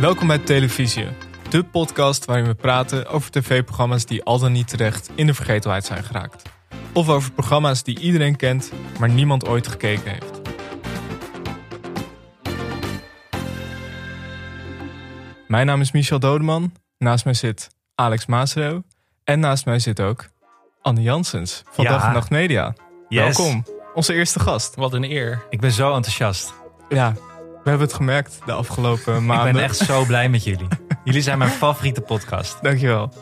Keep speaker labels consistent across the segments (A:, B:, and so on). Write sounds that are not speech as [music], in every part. A: Welkom bij Televisie, de podcast waarin we praten over tv-programma's die al dan niet terecht in de vergetelheid zijn geraakt. Of over programma's die iedereen kent, maar niemand ooit gekeken heeft. Mijn naam is Michel Dodeman, naast mij zit Alex Maasreu en naast mij zit ook Anne Janssens van
B: Ja.
A: Dag en Nacht Media.
B: Yes.
A: Welkom, onze eerste gast.
C: Wat een eer.
B: Ik ben zo enthousiast.
A: Ja, we hebben het gemerkt de afgelopen
B: Ik
A: maanden.
B: ben echt zo blij
A: [laughs]
B: met jullie. Jullie zijn mijn favoriete podcast.
A: Dankjewel.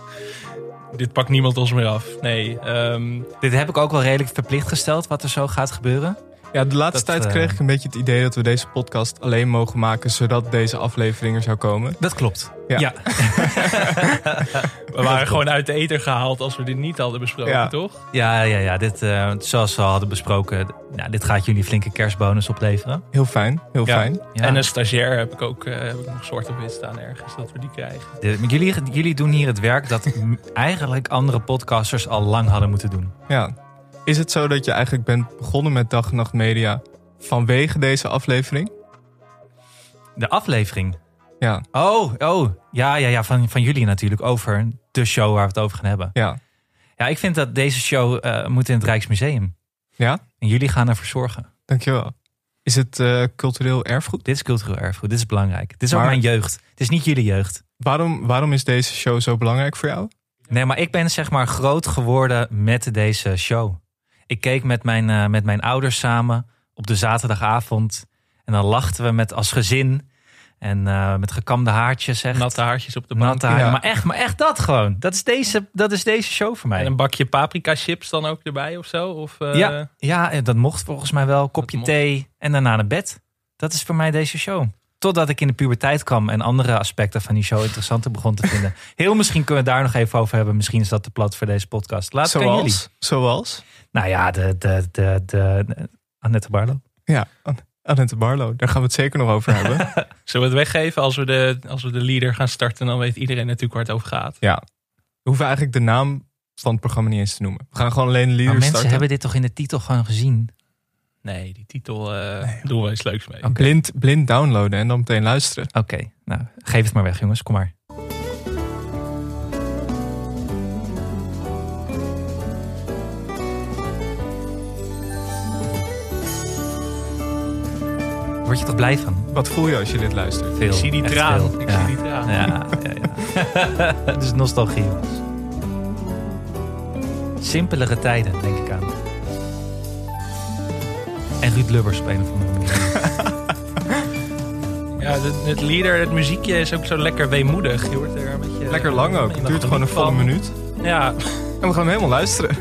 C: Dit pakt niemand ons meer af. Nee, ehm,
B: Dit heb ik ook wel redelijk verplicht gesteld, wat er zo gaat gebeuren.
A: Ja, de laatste
B: Dat,
A: tijd
B: eh,
A: kreeg ik een beetje het idee dat we deze podcast alleen mogen maken zodat deze aflevering er zou komen.
B: Dat klopt.
A: Ja.
C: we
A: [laughs]
C: waren gewoon uit de eter gehaald als we dit niet hadden besproken,
A: Ja.
C: toch?
B: Ja, ja, ja. Dit, eh, zoals we al hadden besproken, d- nou, dit gaat jullie flinke kerstbonus opleveren.
A: Heel fijn, heel
C: Ja.
A: fijn.
B: Ja.
C: En een stagiair heb ik ook eh, heb ik nog zwart op wit staan ergens, dat we die krijgen.
B: De- maar jullie, jullie doen hier het werk dat m- eigenlijk andere podcasters al lang hadden moeten doen.
A: Ja. Is het zo dat je eigenlijk bent begonnen met Dag en Nacht Media vanwege deze aflevering?
B: De aflevering.
A: Ja,
B: Oh, oh. Ja, ja, ja. Van, van jullie natuurlijk over de show waar we het over gaan hebben.
A: ja.
B: Ja, ik vind dat deze show eh, moet in het Rijksmuseum.
A: Ja?
B: En jullie gaan ervoor zorgen.
A: Dankjewel. Is het eh, cultureel erfgoed?
B: Dit is cultureel erfgoed. Dit is belangrijk. Dit is
A: Maar-
B: ook mijn jeugd. Het is niet jullie jeugd.
A: Waarom, waarom is deze show zo belangrijk voor jou?
B: Nee, maar ik ben zeg maar groot geworden met deze show. Ik keek met mijn, eh, met mijn ouders samen op de zaterdagavond. En dan lachten we met als gezin. En eh, met gekamde haartjes. Echt.
C: Natte haartjes op de bank.
B: Natte haar.
A: ja.
B: Maar, echt, maar echt dat gewoon. Dat is deze, dat is deze show voor mij.
C: En een bakje paprika chips dan ook erbij of zo? Of, eh,
B: Ja. Ja, eh, dat mocht volgens mij wel. Kopje
C: mocht.
B: thee en daarna naar bed. Dat is voor mij deze show. Totdat ik in de puberteit kwam en andere aspecten van die show interessanter begon te
A: [laughs]
B: vinden. Heel misschien kunnen we het daar nog even over hebben. Misschien is dat te plat voor deze podcast. Laat het aan jullie.
A: zoals? Zoals?
B: Nou ja, de, de, de, de, de- Annette Barlo.
A: Ja, An- Annette Barlo. Daar gaan we het zeker nog over
B: [laughs]
A: hebben.
C: Zullen we het weggeven als we, de, als we de leader gaan starten? Dan weet iedereen natuurlijk waar het over gaat.
A: We hoeven eigenlijk de naam van het programma niet eens te noemen. We gaan gewoon alleen de
B: Maar
A: leader
B: Nou, mensen
A: starten.
B: hebben dit toch in de titel gewoon gezien?
C: Nee, die titel eh, doen we iets leuks mee.
A: blind, blind downloaden en dan meteen luisteren.
B: Oké, nou geef het maar weg jongens, kom maar. Word je toch blij van?
A: Wat voel je als je dit luistert?
B: Veel.
C: Ik zie die
B: echt
C: traan.
B: veel.
C: Ik
B: ja.
C: zie die traan.
B: Ja, ja, ja.
C: [laughs]
B: Het is nostalgie jongens. Simpelere tijden, denk ik aan. En Ruud Lubbers op een of andere manier.
C: [laughs] Ja, het, het lieder, het muziekje is ook zo lekker weemoedig. Je wordt er een beetje,
A: Lekker lang ook. Het duurt gewoon een volle
C: van.
A: minuut.
C: Ja,
A: En we gaan hem helemaal luisteren.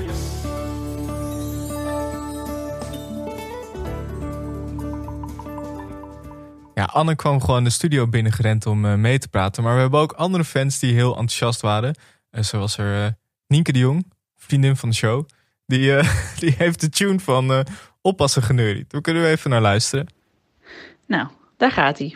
A: Ja, Anne kwam gewoon de studio binnengerend om eh, mee te praten. Maar we hebben ook andere fans die heel enthousiast waren. Eh, zo was er eh Nienke de Jong, vriendin van de show. Die, eh, [laughs] die heeft de tune van eh, Oppassen geneuried. We kunnen er even naar luisteren.
D: Nou, daar gaat hij.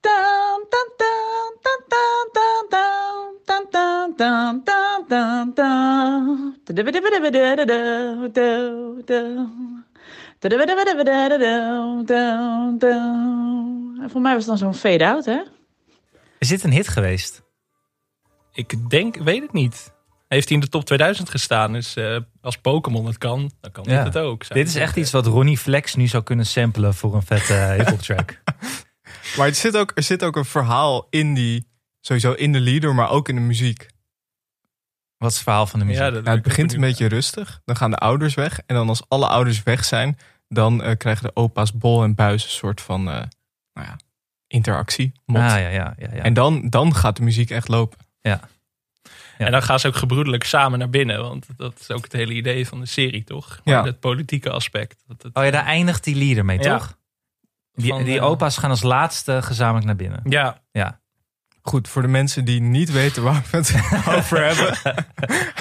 D: Dum, dum, dum, dum, dum, dum, dum, dum, dum, dum, dum, dum. Du-du-du-du-du-du-du-du-du. Du-du-du-du-du-du-du-du-du. En Voor mij was het dan zo'n fade-out, hè?
B: Is dit een hit geweest?
C: ik denk, weet het niet. Heeft hij in de top 2000 gestaan? Dus eh, als Pokémon het kan, dan kan
B: Ja.
C: dit het ook.
B: Dit
C: zou ik
B: is echt
C: zeggen.
B: iets wat Ronnie Flex nu zou kunnen samplen voor een vette eh, hip-hop track.
A: Maar er zit, ook, er zit ook een verhaal in die... Sowieso in de lieder, maar ook in de muziek.
B: Wat is het verhaal van de muziek?
C: Ja, dat-
A: Nou, het
C: ik ben
A: begint een
C: benieuwd.
A: beetje rustig. Dan gaan de ouders weg. En dan als alle ouders weg zijn, dan eh, krijgen de opa's bol en buis een soort van eh, nou ja, interactie. Mot.
B: ah, ja, ja, ja, ja.
A: En dan, dan gaat de muziek echt lopen.
B: ja.
C: En dan gaan ze ook gebroedelijk samen naar binnen. Want dat is ook het hele idee van de serie, toch?
A: Ja.
C: Maar Dat politieke aspect. Dat het-
B: Oh ja, daar eindigt die lieder mee,
C: Ja.
B: toch? Die,
C: Van,
B: die
C: eh,
B: opa's gaan als laatste gezamenlijk naar binnen.
C: Ja,
A: [laughs]
B: Ja.
A: Goed, voor de mensen die niet weten waar we het over hebben.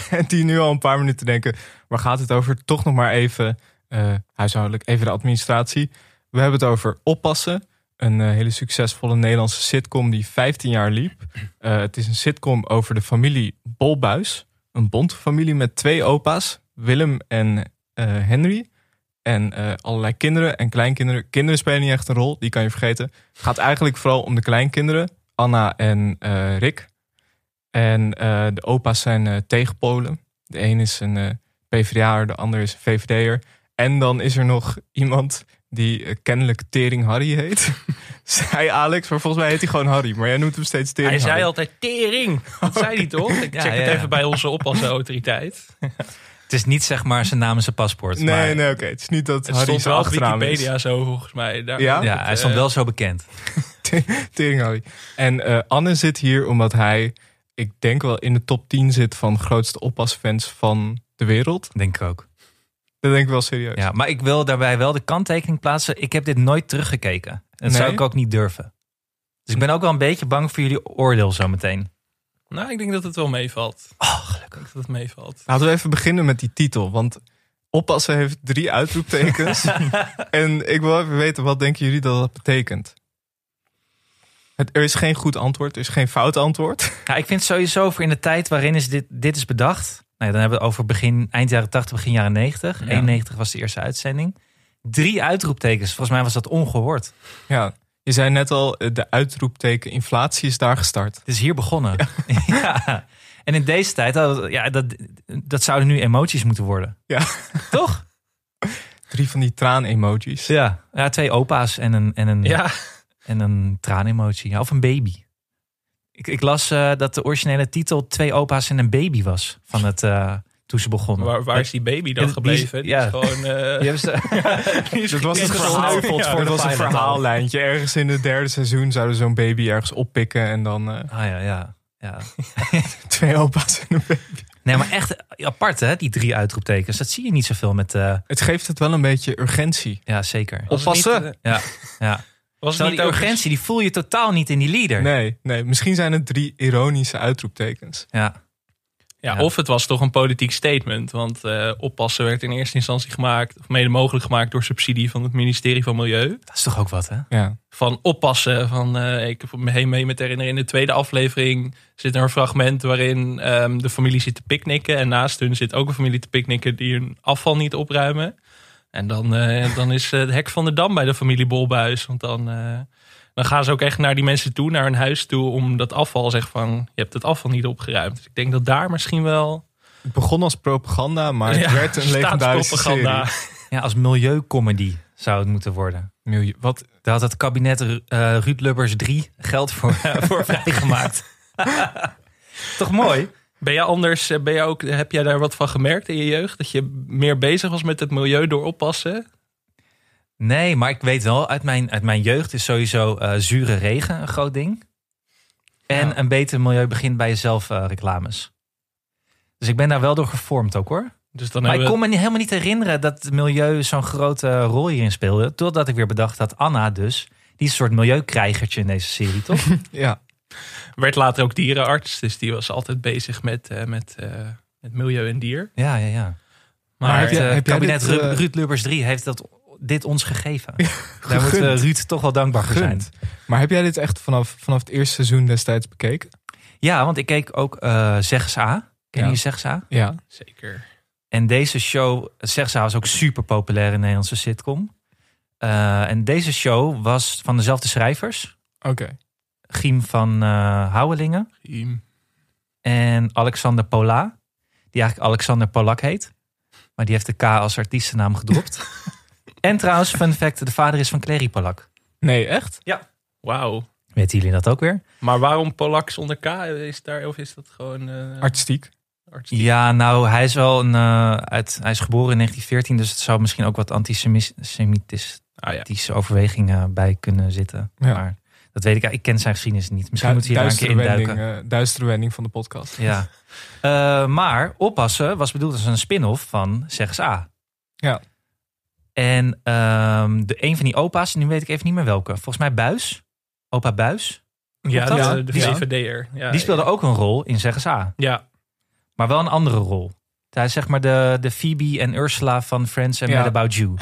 A: en die nu al een paar minuten denken, waar gaat het over? Toch nog maar even eh, huishoudelijk, even de administratie. We hebben het over Oppassen, een eh, hele succesvolle Nederlandse sitcom die 15 jaar liep. Eh, het is een sitcom over de familie Bolbuis, een bondfamilie met twee opa's, Willem en eh, Henry. En eh, allerlei kinderen en kleinkinderen. Kinderen spelen niet echt een rol, die kan je vergeten. Het gaat eigenlijk vooral om de kleinkinderen, Anna en eh, Rick. En eh, de opa's zijn eh, tegenpolen. De een is een eh PvdA'er, de ander is een VVD'er. En dan is er nog iemand die eh, kennelijk Tering Harry heet. [laughs] Zij Alex, maar volgens mij heet hij gewoon Harry. Maar jij noemt hem steeds Tering
C: [laughs] Hij zei
A: Harry.
C: altijd
B: [laughs]
C: tering. Dat zei hij toch? Ik
B: Ja,
C: check het
B: ja, ja.
C: even bij onze
B: [laughs]
C: oppassenautoriteit.
B: Het is niet zeg maar zijn naam en zijn paspoort.
A: Nee,
B: maar,
A: nee, oké. Het is niet dat
C: Het
A: Harry
C: stond
A: zijn
C: wel op
A: achternaam is.
C: Wikipedia zo volgens mij. Daar,
A: Ja?
B: Ja, hij stond wel zo bekend.
A: Tering Harry. En eh, Anne zit hier omdat hij, ik denk wel in de top 10 zit van grootste oppasfans van de wereld.
B: Denk ik ook.
A: Dat denk ik wel serieus.
B: Ja, maar ik wil daarbij wel de kanttekening plaatsen. Ik heb dit nooit teruggekeken. En dat zou
A: Nee?
B: ik ook niet durven. Dus ik ben ook wel een beetje bang voor jullie oordeel zometeen.
C: Nou, ik denk dat het wel meevalt.
B: Oh,
C: Ik denk dat het meevalt.
A: Laten we even beginnen met die titel, want oppassen heeft drie
C: [laughs]
A: uitroeptekens. en ik wil even weten, wat denken jullie dat dat betekent? Het, er is geen goed antwoord, er is geen fout antwoord. [laughs]
B: Ja, ik vind sowieso voor in de tijd waarin is dit, dit is bedacht. Nou ja, dan hebben we het over begin, eind jaren 80, begin jaren 90.
C: Ja.
B: 91 was de eerste uitzending. Drie uitroeptekens. Volgens mij was dat ongehoord.
A: Ja, je zei net al, eh, de uitroepteken inflatie is daar gestart.
B: Het is hier begonnen. [laughs] Ja. En in deze tijd, hadden we- ja, dat, dat zouden nu emoties moeten worden.
A: Ja.
B: Toch?
A: Drie van die traan-emojis.
B: Ja. ja twee opa's en een, en een,
C: Ja,
B: en een traanemotie. Ja, of een baby. Ik, ik las eh, dat de originele titel Twee opa's en een baby was. Van het, eh, toen ze begonnen.
C: waar, waar is die baby dan
B: Die is-
C: gebleven? Die
B: ja.
C: is gewoon...
B: [laughs]
C: eh,
B: Die hebben ze-
C: die is
A: Dat was het
C: gekild.
A: verhaal.
B: gestoffeld
A: Ja,
B: voor
A: dat
B: de
A: was een
B: pilot al.
A: verhaallijntje. Ergens in het derde seizoen zouden ze zo'n baby ergens oppikken en dan eh,
B: Ah ja, ja. ja.
A: twee opa's en een baby.
B: Nee, maar echt apart hè, die drie uitroeptekens. Dat zie je niet zoveel met... eh,
A: Het geeft het wel een beetje urgentie.
B: ja, zeker.
C: Was het niet,
A: Oppassen.
C: eh,
B: Ja, ja.
C: Was het
B: Terwijl
C: niet
B: die
C: ook eens-
B: urgentie, die voel je totaal niet in die leader.
A: Nee, nee, misschien zijn het drie ironische uitroeptekens.
B: Ja,
C: Ja,
B: Ja.
C: Of het was toch een politiek statement. Want eh, oppassen werd in eerste instantie gemaakt, of mede mogelijk gemaakt door subsidie van het ministerie van Milieu.
B: dat is toch ook wat hè?
A: Ja.
C: Van oppassen. Van, eh, ik heb me heen mee met herinneren. In de tweede aflevering zit er een fragment waarin ehm, de familie zit te picknicken. En naast hun zit ook een familie te picknicken die hun afval niet opruimen. En dan, eh, dan is eh, het hek van de dam bij de familie Bolbuis. Want dan, eh, dan gaan ze ook echt naar die mensen toe, naar hun huis toe, om dat afval zeg van je hebt het afval niet opgeruimd. Dus ik denk dat daar misschien wel.
A: Het begon als propaganda, maar het
C: Ja,
A: werd een legendarische
C: staatspropaganda.
A: serie.
B: Ja, als milieucomedy zou het moeten worden.
A: Milieu- Wat?
B: Daar had het kabinet Ru- eh, Ruud Lubbers 3 geld voor, [laughs] voor
C: [laughs]
B: vrijgemaakt. toch mooi?
C: Ben jij anders, eh, ben jij ook, heb jij daar wat van gemerkt in je jeugd? Dat je meer bezig was met het milieu door oppassen?
B: Nee, maar ik weet wel, uit mijn, uit mijn jeugd is sowieso eh, zure regen een groot ding. En een beter milieu begint bij jezelf eh, reclames. Dus ik ben daar wel door gevormd ook
A: Nou,
B: hoor.
C: Dus dan
B: maar ik
C: hebben
B: kon me niet- helemaal niet herinneren dat het milieu zo'n grote rol hierin speelde. Totdat ik weer bedacht dat Anna dus, die is een soort milieukrijgertje in deze serie
A: [laughs]
B: toch?
A: Ja.
C: werd later ook dierenarts, dus die was altijd bezig met, eh, met, eh, met milieu en dier.
B: ja, ja, ja. Maar,
A: heb jij-
B: eh,
A: heb jij
B: kabinet
A: dit,
B: Ru-
A: eh,
B: Ruud Lubbers 3 heeft dat, dit ons gegeven. Daar moet eh,
A: gegund.
B: Ruud toch wel dankbaar voor zijn.
A: Gegund. Maar heb jij dit echt vanaf, vanaf het eerste seizoen destijds bekeken?
B: Ja, want ik keek ook eh Zegs A. Ken
A: Ja.
B: je Zegs A?
A: Ja.
C: Zeker.
B: En deze show, Zegza was ook super populair in de Nederlandse sitcom. Eh, en deze show was van dezelfde schrijvers.
A: Oké.
B: Giem van eh Houwelingen en Alexander Pola. Die eigenlijk Alexander Polak heet. Maar die heeft de K als artiestennaam [laughs] gedropt. en trouwens, fun fact, de vader is van Clary Polak.
A: Nee, echt?
C: Wauw.
B: Weten jullie dat ook weer?
C: Maar waarom Polak zonder K? Is daar, of is dat gewoon eh
A: Artistiek.
C: arts?
B: Ja, nou, hij is wel een... eh, uit, hij is geboren in 1914, dus het zou misschien ook wat antisemitisch
C: Ah, ja.
B: ethische overwegingen bij kunnen zitten.
A: Ja.
B: Maar dat weet ik, ik ken zijn geschiedenis niet. Misschien
A: Du-
B: moeten we hier daar een keer
A: duistere,
B: in
A: wending,
B: duiken.
A: eh, duistere wending van de podcast.
B: Ja.
A: [laughs]
B: Eh, maar oppassen was bedoeld als een spin-off van Zegs A.
A: Ja.
B: En ehm, de, een van die opa's, nu weet ik even niet meer welke. Volgens mij Buis. Opa Buis.
C: Ja, eh,
B: Klopt dat?
C: de, de
A: Ja.
C: VVD'er. Ja,
B: die speelde
C: ja.
B: ook een rol in Zegs A.
C: Ja,
B: Maar wel een andere rol. Hij is zeg maar de, de Phoebe en Ursula van Friends and
A: Ja.
B: Mad About
A: [laughs]
B: You.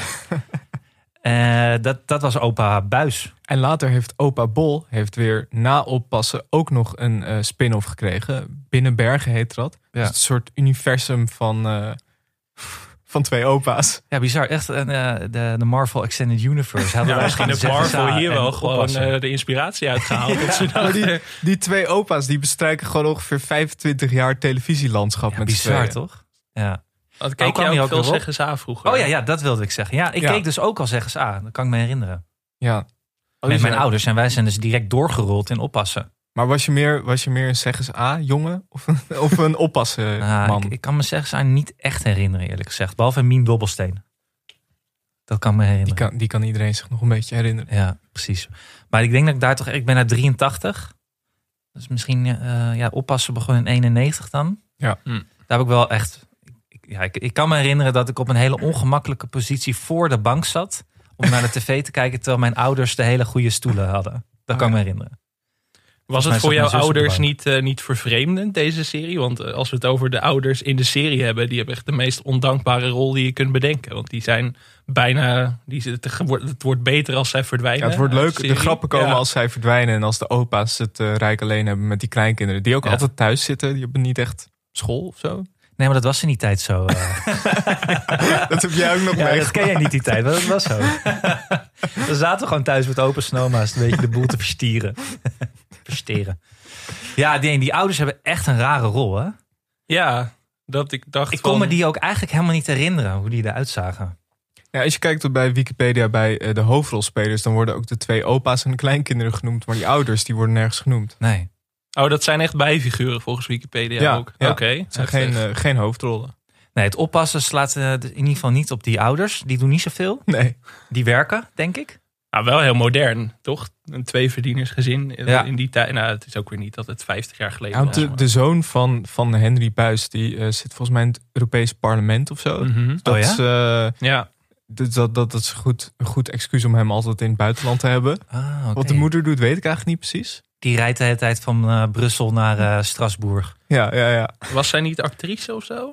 B: Eh, dat, dat was opa Buis.
A: En later heeft opa Bol heeft weer na oppassen ook nog een eh, spin-off gekregen. Binnen Bergen heet dat. Dus het soort universum van, eh, van twee opa's.
B: Ja, bizar. Echt een, eh, de, de Marvel Extended Universe. Hadden
C: Ja,
B: wij
C: misschien
B: gewoon
C: heeft Marvel
B: ZSA
C: hier
B: en
C: wel gewoon
B: oppassen.
C: eh, de inspiratie
B: [laughs]
C: uitgehaald. Dat eh, ze
A: Maar
C: dachten,
A: die, die twee opa's die bestrijken gewoon ongeveer 25 jaar televisielandschap
B: ja,
A: met z'n
B: bizar
A: tweeën.
B: toch? Ja.
C: Want
B: Hoe
C: keek
B: Oh, kwam
C: jij
B: die ook
C: ook veel
B: erop?
C: zeggen ze aan vroeger?
B: Oh ja, ja, dat wilde ik zeggen. Ja, ik
A: Ja.
B: keek dus ook al zeggen ze ah, dat kan ik me herinneren.
A: Ja.
B: Met mijn
A: Bizar.
B: ouders en wij zijn dus direct doorgerold in oppassen.
A: Maar was je meer, was je meer een zeggens A jongen of een, of een oppassen
B: Ah,
A: man?
B: ik, ik kan me zeggen ze niet echt herinneren eerlijk gezegd. Behalve Mien Dobbelsteen. Dat kan me herinneren.
A: die, kan, die kan iedereen zich nog een beetje herinneren.
B: Ja, precies. Maar ik denk dat ik daar toch... Ik ben uit 83. Dus misschien eh, ja, oppassen begon in 91 dan.
A: Ja.
C: Hm.
B: Daar heb ik wel echt... ik- Ja, ik, ik kan me herinneren dat ik op een hele ongemakkelijke positie voor de bank zat. Om naar de tv te kijken terwijl mijn ouders de hele goede stoelen hadden.
A: Oh,
B: Dat kan ik
A: ja.
B: me herinneren.
C: Was
B: Volgens mij
C: het voor
B: zat
C: jouw
B: mijn zus op de
C: ouders
B: bank.
C: niet, eh, niet vervreemdend, deze serie? Want eh, als we het over de ouders in de serie hebben, die hebben echt de meest ondankbare rol die je kunt bedenken. Want die zijn bijna. Die, zitten- het, wordt, het wordt beter als zij verdwijnen.
A: Ja, het wordt
C: uit
A: leuk. De
C: serie.
A: grappen komen
C: Ja.
A: als zij verdwijnen. En als de opa's het eh, rijk alleen hebben met die kleinkinderen. Die ook
B: Ja.
A: altijd thuis zitten. Die hebben niet echt [laughs] school of zo.
B: Nee, maar dat was in die tijd zo. eh.
A: Dat heb jij ook nog
B: ja, dat
A: meegemaakt.
B: ken jij niet die tijd, maar dat was zo. We zaten gewoon thuis met open snowma's een beetje de boel te verstieren. [laughs] Versteren. Ja, die, die ouders hebben echt een rare rol, hè?
C: Ja, dat ik dacht.
B: Ik kon me
C: van-
B: die ook eigenlijk helemaal niet herinneren, hoe die eruit zagen.
A: Ja, als je kijkt op bij Wikipedia bij eh, de hoofdrolspelers. Dan worden ook de twee opa's en de kleinkinderen genoemd. Maar die ouders die worden nergens genoemd.
B: Nee.
C: Oh, dat zijn echt bijfiguren volgens Wikipedia
A: Ja,
C: ook.
A: ja.
C: Oké.
A: Het zijn
C: heftig.
A: geen, eh, geen hoofdrollen.
B: Nee, het oppassen slaat eh, in ieder geval niet op die ouders. Die doen niet zoveel.
A: Nee.
B: Die werken, denk ik.
C: Nou, wel heel modern, toch? Een tweeverdienersgezin in-
B: Ja.
C: in die tijd. Nou, het is ook weer niet dat het 50 jaar geleden
A: Ja, want
C: was.
A: de,
C: maar-
A: de zoon van, van Henry Buis. Die eh, zit volgens mij in het Europees parlement of zo.
C: Mhm.
A: Dat,
B: Oh ja?
A: is, eh,
C: Ja,
A: dat, dat, dat is goed, een goed excuus om hem altijd in het buitenland te hebben.
B: Ah, oké.
A: Wat de moeder doet, weet ik eigenlijk niet precies.
B: Die rijdt de hele tijd van eh, Brussel naar eh, Straatsburg.
A: Ja, ja, ja.
C: was zij niet actrice of zo? Heb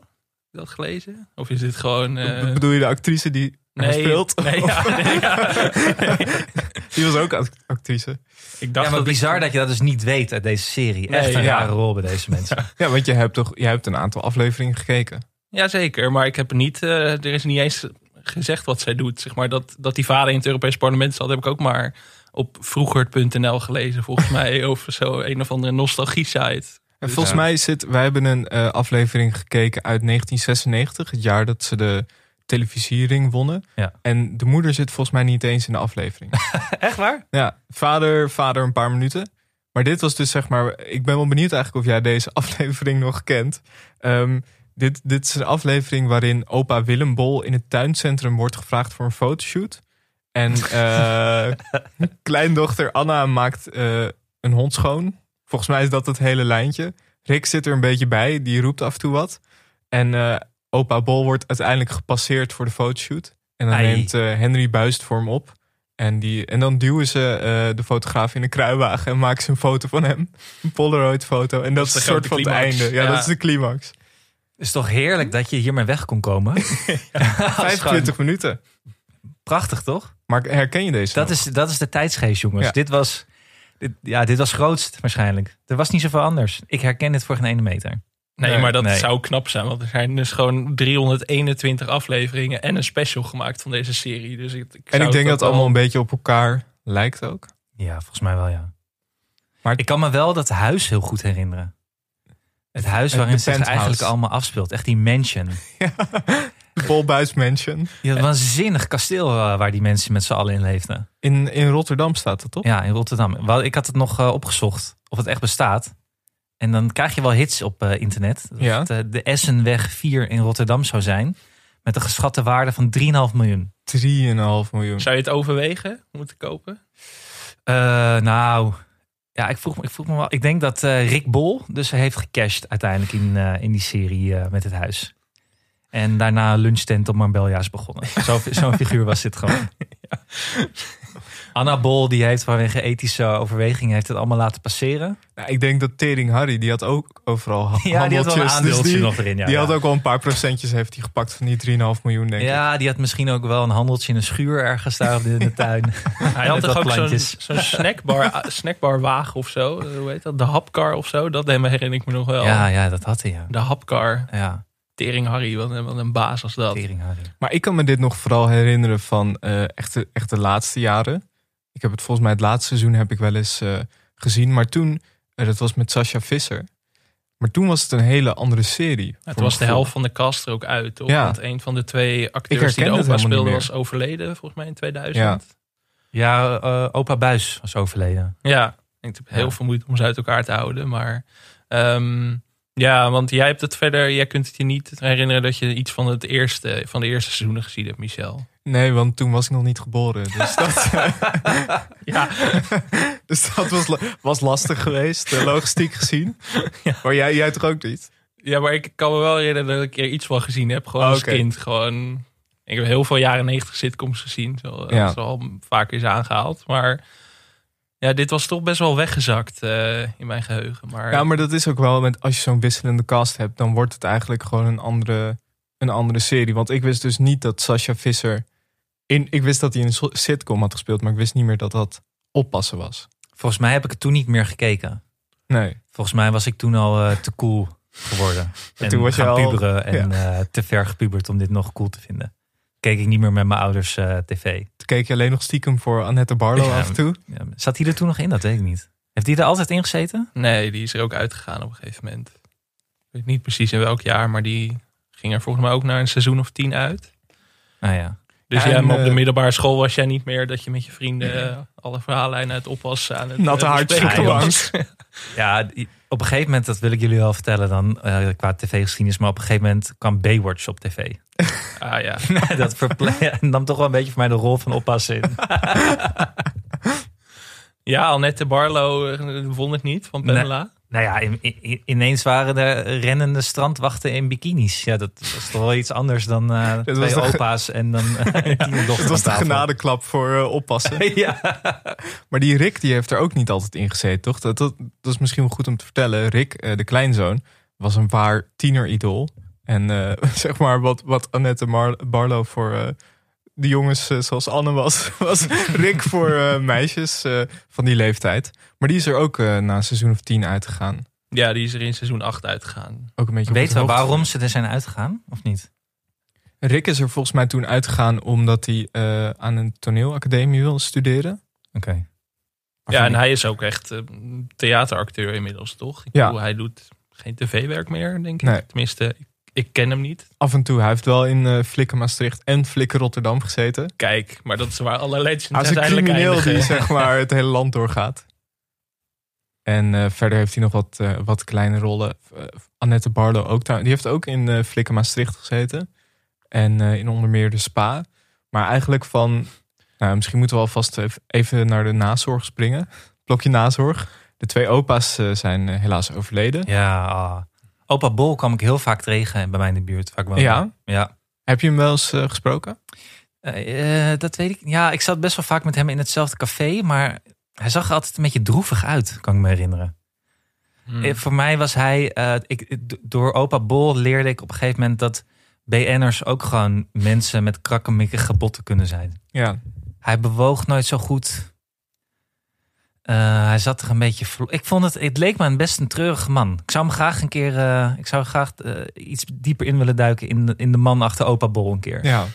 C: je Dat gelezen? Of is dit gewoon. eh,
A: B- Bedoel je de actrice die
C: nee,
A: speelt?
C: Nee,
A: [laughs]
C: ja, nee, ja.
A: Die was ook act- actrice.
C: Ik
B: Ja,
C: dacht
B: maar
C: dat ik-
B: bizar dat je dat dus niet weet uit deze serie.
C: Nee,
B: Echt een
A: ja.
B: rare rol bij deze mensen.
A: Ja, want je hebt toch je hebt een aantal afleveringen gekeken.
C: Jazeker, maar ik heb niet. eh, er is niet eens gezegd wat zij doet. Zeg maar dat, dat die vader in het Europees parlement zat, heb ik ook maar op vroeger.nl gelezen, volgens mij. [laughs] Of zo, een of andere nostalgie-site.
B: Dus
A: En volgens mij zit, wij hebben een eh, aflevering gekeken uit 1996, het jaar dat ze de televisiering wonnen.
B: Ja.
A: En de moeder zit volgens mij niet eens in de aflevering.
B: [laughs] Echt waar?
A: ja, vader, vader een paar minuten. Maar dit was dus zeg maar, ik ben wel benieuwd eigenlijk of jij deze [laughs] aflevering nog kent. Ehm, dit, dit is een aflevering waarin opa Willem Bol in het tuincentrum wordt gevraagd voor een fotoshoot. En eh, kleindochter Anna maakt eh, een hond schoon. Volgens mij is dat het hele lijntje. Rick zit er een beetje bij, die roept af en toe wat. En eh, opa Bol wordt uiteindelijk gepasseerd voor de fotoshoot. En dan
B: Ai.
A: neemt eh, Henry Buist voor hem op. En, die, en dan duwen ze eh, de fotograaf in een kruiwagen en maken ze een foto van hem. Een Polaroid foto. En dat, is
C: de
A: een soort
C: grote
A: van het
C: climax.
A: einde. Ja,
C: Ja.
A: dat is de climax.
B: is toch heerlijk dat je hiermee weg kon komen? Als gewoon-
A: 25 minuten.
B: Prachtig, toch?
A: Maar herken je deze? nou?
B: Dat
A: nog?
B: is, dat is de tijdsgeest, jongens.
A: Ja.
B: Dit was... Dit, ja, dit was grootst waarschijnlijk. Er was niet zoveel anders. Ik herken dit voor geen ene meter.
C: Nee,
A: Nee,
C: maar dat
B: nee.
C: zou knap zijn, want er zijn dus gewoon 321 afleveringen en een special gemaakt van deze serie. Dus ik,
A: en ik denk dat het allemaal een beetje op elkaar lijkt ook.
B: Ja, volgens mij wel, ja.
A: Maar-
B: Maar ik kan me wel dat huis heel goed herinneren. Het huis
A: het-
B: waarin
A: de
B: het zich
A: penthouse.
B: eigenlijk allemaal afspeelt. Echt die
A: [laughs]
B: mansion.
A: De Paul Buys Mansion.
B: Ja, een waanzinnig kasteel eh, waar die mensen met z'n allen in leefden.
A: In, in Rotterdam staat dat, toch?
B: Ja, in Rotterdam. Wel, Ik had het nog eh, opgezocht of het echt bestaat. En dan krijg je wel hits op eh, internet. Dat
A: Ja.
B: het, eh, de Essenweg 4 in Rotterdam zou zijn. Met een geschatte waarde van 3,5 miljoen.
A: 3,5 miljoen.
C: Zou je het overwegen om het te kopen?
B: Eh, nou, ja, ik vroeg, me- ik vroeg me wel. Ik denk dat eh, Rick Bol dus heeft gecashed uiteindelijk in, eh, in die serie eh, met het huis. [laughs] En daarna lunchtent op Marbelja's begonnen. Zo- Zo'n figuur was dit gewoon. Anna Bol die heeft vanwege ethische overwegingen heeft het allemaal laten passeren.
A: Nou, ik denk dat Tering Harry, die had ook overal ha-
B: [laughs] Ja, die had wel een
A: handeltjes, dus
B: aandeeltje
A: die,
B: nog erin. Ja,
A: die
B: ja.
A: had ook wel een paar procentjes heeft hij gepakt van die 3,5 miljoen, denk ik.
B: ja, die had misschien ook wel een handeltje in een schuur ergens daar in de [laughs] tuin.
C: Hij had
B: Met
C: toch
B: wat
C: ook zo'n
B: plantjes.
C: zo'n
A: [laughs]
C: snackbar, snackbarwagen of zo? Eh, Hoe heet dat? De hapkar of zo? Dat deed me- herinner ik me nog wel.
B: Ja, ja, dat had hij. Ja,
C: De hapkar.
B: ja
C: Tering Harry, wat een, wat een baas was dat.
B: tering Harry.
A: Maar ik kan me dit nog vooral herinneren van eh, echt, de, echt de laatste jaren. Ik heb het volgens mij het laatste seizoen heb ik wel eens eh, gezien. Maar toen, eh, dat was met Sascha Visser. Maar toen was het een hele andere serie. voor
C: Het
A: mijn
C: was de
A: gevoel.
C: helft van de cast er ook uit. Toch?
A: Ja.
C: Want een van de twee
A: herken
C: acteurs die de
A: het helemaal
C: opa
A: niet
C: speelde
A: meer.
C: was overleden, volgens mij in 2000.
B: Ja, eh, opa Buis was overleden.
C: Ja, ik heb heel
B: Ja.
C: veel moeite om ze uit elkaar te houden. Maar ehm, ja, want jij hebt het verder, jij kunt het je niet herinneren dat je iets van, het eerste, van de eerste seizoenen gezien hebt, Michel.
A: Nee, want toen was ik nog niet geboren. Dus [laughs] dat,
C: Ja.
A: [laughs] dus dat was, la- was lastig geweest, eh, logistiek
B: [laughs]
A: gezien. Maar jij, jij toch ook niet?
C: Ja, maar ik kan me wel herinneren dat ik er iets van gezien heb. Gewoon
A: Oh,
C: als
A: oké.
C: kind. Gewoon, ik heb heel veel jaren negentig sitcoms gezien. Zo,
A: Ja.
C: Dat is al vaak is aangehaald. Maar ja, dit was toch best wel weggezakt eh, in mijn geheugen. Maar,
A: Ja, maar dat is ook wel met als je zo'n wisselende cast hebt, dan wordt het eigenlijk gewoon een andere, een andere serie. Want ik wist dus niet dat Sascha Visser. In, ik wist dat hij in een so- sitcom had gespeeld, maar ik wist niet meer dat dat oppassen was.
B: Volgens mij heb ik het toen niet meer gekeken.
A: Nee.
B: Volgens mij was ik toen al eh, te cool
A: [laughs]
B: geworden. en
A: toen was je
B: gaan
A: al- [laughs]
B: puberen en eh, te ver gepuberd om dit nog cool te vinden. Keek ik niet meer met mijn ouders eh, tv.
A: Toen keek je alleen nog stiekem voor Annette Barlo
B: Ja.
A: af en toe.
B: Ja, zat hij er toen nog in? Dat weet ik niet. Heeft hij er altijd in gezeten?
C: Nee, die is er ook uitgegaan op een gegeven moment. Ik weet niet precies in welk jaar, maar die ging er volgens mij ook naar een seizoen of tien uit.
B: Nou ja.
C: Dus
A: Ja,
C: ja,
A: en,
C: maar op de
A: eh,
C: middelbare school was jij niet meer dat je met je vrienden eh, alle verhaallijnen uit oppassen aan het
A: Natte
C: eh,
A: haartjes
C: bespreken
B: op de
A: wang.
B: ja, die- op een gegeven moment, dat wil ik jullie wel vertellen dan eh, qua tv-geschiedenis. Maar op een gegeven moment kwam Baywatch op tv. [laughs]
C: Ah ja.
B: dat verple- [laughs] nam toch wel een beetje voor mij de rol van oppassen in.
C: Ja, Annette Barlo eh, won het niet van
B: Nee.
C: Pamela.
B: Nou ja, in- in- ineens waren er rennende strandwachten in bikinis. Ja, dat was toch wel iets anders dan eh
A: [laughs] was
B: twee
A: de ge-
B: opa's en
A: [laughs]
B: dan eh, een tienerdochter
A: Het was de
B: aan tafel.
A: genadeklap voor eh, oppassen.
B: [laughs] ja.
A: Maar die Rick die heeft er ook niet altijd in gezeten, toch? Dat, dat, dat is misschien wel goed om te vertellen. Rick, eh, de kleinzoon, was een waar tieneridol. En eh, [laughs] zeg maar wat, wat Annette Mar- Barlo voor eh, de jongens eh, zoals Anne was, [laughs] was Rick voor eh, meisjes eh, van die leeftijd. Maar die is er ook eh, na een seizoen of tien uitgegaan.
C: Ja, die is er in seizoen 8 uitgegaan.
A: Ook een beetje op het
B: Weten we
A: hoogte.
B: waarom ze er zijn uitgegaan, of niet?
A: Rick is er volgens mij toen uitgegaan omdat hij eh, aan een toneelacademie wil studeren.
B: Oké.
C: Ja, en hij is ook echt eh, theateracteur inmiddels, toch? Ik
A: Ja.
C: bedoel, hij doet geen tv-werk meer, denk ik.
A: Nee.
C: Tenminste, ik, ik ken hem niet.
A: Af en toe, hij heeft wel in eh Flikker Maastricht en Flikker Rotterdam gezeten.
C: Kijk, maar dat is waar alle legends
A: Hij is een
C: uiteindelijk
A: crimineel
C: eindigen.
A: die
C: [laughs]
A: zeg maar het hele land doorgaat. En eh, verder heeft hij nog wat, eh, wat kleine rollen. Eh, Annette Barlo ook daar. Die heeft ook in eh Flikker Maastricht gezeten. En eh, in onder meer de Spa. Maar eigenlijk van... Nou, misschien moeten we alvast ev- even naar de nazorg springen. [laughs] Blokje nazorg. De twee opa's eh, zijn eh, helaas overleden.
B: Ja. ah. Opa Bol kwam ik heel vaak tegen bij mij in de buurt. Waar ik woonde.
A: Ja.
B: ja.
A: Heb je hem wel eens eh, gesproken?
B: Eh, eh, dat weet ik. Ja, ik zat best wel vaak met hem in hetzelfde café, maar hij zag er altijd een beetje droevig uit, kan ik me herinneren.
C: Hmm.
B: Eh, voor mij was hij, eh, ik, d- door opa Bol leerde ik op een gegeven moment dat BN'ers ook gewoon mensen met krakkemikkige botten kunnen zijn.
A: Ja.
B: Hij bewoog nooit zo goed. Eh, hij zat er een beetje. verlo- Ik vond het, het leek me een best een treurige man. Ik zou hem graag een keer, eh, ik zou graag eh, iets dieper in willen duiken in de, in de man achter opa Bol een keer.
A: ja.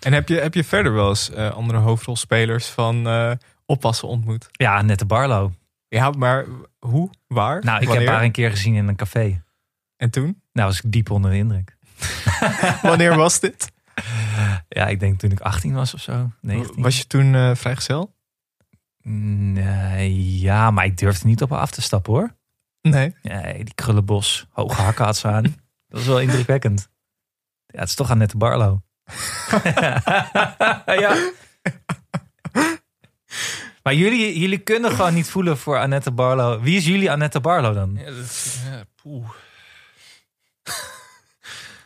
A: En heb je, heb je verder wel eens eh, andere hoofdrolspelers van eh, oppassen ontmoet?
B: Ja, Nette Barlo.
A: Ja, maar hoe? Waar?
B: Nou, ik
A: Wanneer?
B: heb haar een keer gezien in een café.
A: En toen? [laughs]
B: Nou was ik diep onder de indruk.
A: Wanneer was
C: [laughs]
A: dit?
B: Ja, ik denk toen ik 18 was of zo. 19.
A: Was je toen eh, vrijgezel?
B: Nee, ja, maar ik durfde niet op haar af te stappen hoor.
A: Nee.
B: Nee, die krullenbos, hoge hakken had ze aan. [laughs] Dat was wel indrukwekkend. Ja, het is toch Annette Barlo. [laughs] ja. Maar jullie, jullie kunnen gewoon niet voelen voor Annette Barlo. Wie is jullie Annette Barlo dan?
C: Ja, dat- ja, poeh.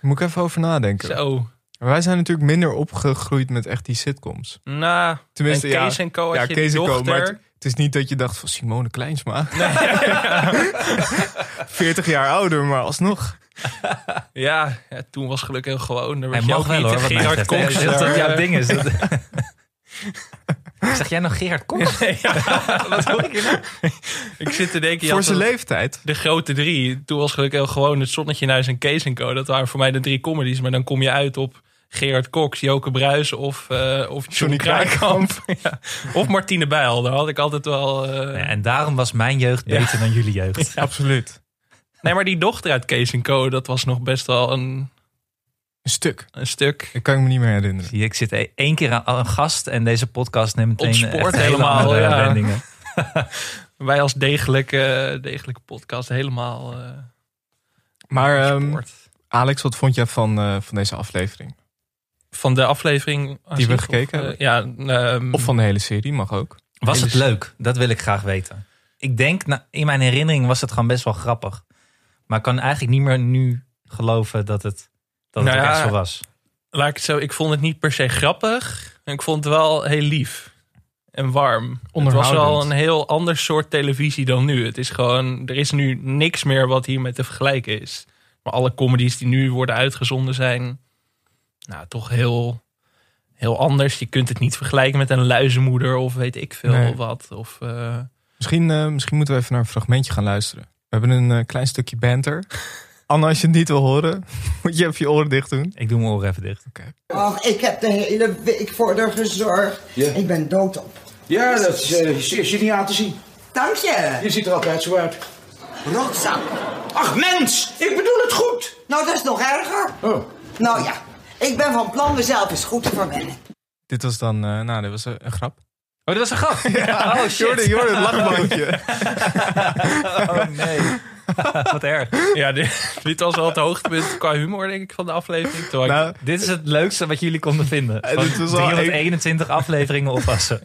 A: Moet ik even over nadenken.
C: Zo.
A: Maar wij zijn natuurlijk minder opgegroeid met echt die sitcoms.
C: Nou, en
A: Tenminste, ja,
C: Kees en Co had
A: ja,
C: je
A: Kees en Co,
C: dochter.
A: maar het is niet dat je dacht van Simone Kleinsma. [laughs] 40 jaar ouder, maar alsnog.
C: ja, ja, toen was geluk heel gewoon. Daar
B: Hij
C: werd je
B: mag
C: ook
B: wel
C: niet
B: hoor, wat mij
C: Gerard
B: betreft.
C: Cox.
B: Ja, dat is
C: daar,
B: dat jouw
C: eh,
B: [laughs] ding is. Dat... zeg jij nog Gerard Cox?
C: [laughs] ja, wat hoor ik hier nou? Ik zit te denken, je
A: Voor
C: had
A: zijn
C: dat-
A: leeftijd.
C: de grote drie. Toen was geluk heel gewoon het Zonnetje in Huis en Kees en Co. Dat waren voor mij de drie comedies. Maar dan kom je uit op Gerard Cox, Joke Bruis of, eh, of Johnny
A: Johnny
C: Kraaikamp. [laughs] ja. Of Martine Bijl. Daar had ik altijd wel... eh, [laughs]
B: Ja, en daarom was mijn jeugd beter dan jullie [laughs] jeugd.
A: Absoluut.
C: Nee, maar die dochter uit Kees en Co. Dat was nog best wel een,
A: Een stuk.
C: een stuk...
A: Dat kan ik me niet meer herinneren.
B: Zie je, ik zit e- één keer aan- aan een gast en deze podcast neemt meteen
C: Ontspoort
B: echt hele
C: helemaal,
B: andere
C: ja.
B: wendingen.
C: Wij als degelijke, degelijke podcast helemaal... eh,
A: Maar ehm,
C: gespoord.
A: Alex, wat vond jij van, eh, van deze aflevering?
C: van de aflevering...
A: Die we
C: of,
A: gekeken
C: eh,
A: hebben?
C: ja, ehm,
A: Of van de hele serie, mag ook.
B: Was het
C: Hele-
B: leuk? Dat wil ik graag weten. Ik denk, nou, in mijn herinnering was het gewoon best wel grappig. Maar ik kan eigenlijk niet meer nu geloven dat het, dat het
C: Nou
B: ook
C: ja.
B: echt zo was.
C: laat ik het zo, ik vond het niet per se grappig. Ik vond het wel heel lief en warm. Het was
A: Onderhoudend.
C: wel een heel ander soort televisie dan nu. Het is gewoon, er is nu niks meer wat hiermee te vergelijken is. Maar alle comedies die nu worden uitgezonden zijn, nou toch heel, heel anders. Je kunt het niet vergelijken met een luizenmoeder of weet ik veel
A: Nee.
C: wat. Of, eh,
A: Misschien, eh, misschien moeten we even naar een fragmentje gaan luisteren. We hebben een eh, klein stukje banter. Anna, als je het niet wil horen, [laughs] moet je even je oren dicht doen.
B: Ik doe mijn oren even dicht.
A: Oh,
E: Och, ik heb de hele week voor haar gezorgd.
F: Ja.
E: Ik ben doodop.
F: Ja, dat is, eh, is, is je niet aan te zien.
E: Dank je.
F: Je ziet er altijd zo uit.
E: Rotzak.
F: Ach, mens! Ik bedoel het goed!
E: Nou, dat is nog erger.
F: Oh.
E: Nou ja, ik ben van plan mezelf eens goed te verwennen.
A: Dit was dan, eh, nou, dit was een, een grap.
B: Oh, dat was een grap? Oh, shit.
A: Jordi, Jordi, het lachbootje.
B: [laughs] Oh, nee. [laughs] Wat erg.
C: [laughs] ja, dit, dit was wel het hoogtepunt qua humor denk ik van de aflevering. Terwijl
A: [laughs]
C: ik-
A: nou,
B: Dit is het leukste wat jullie konden vinden.
A: Eh,
B: Van
A: [laughs] dit was al
B: 321 afleveringen oppassen.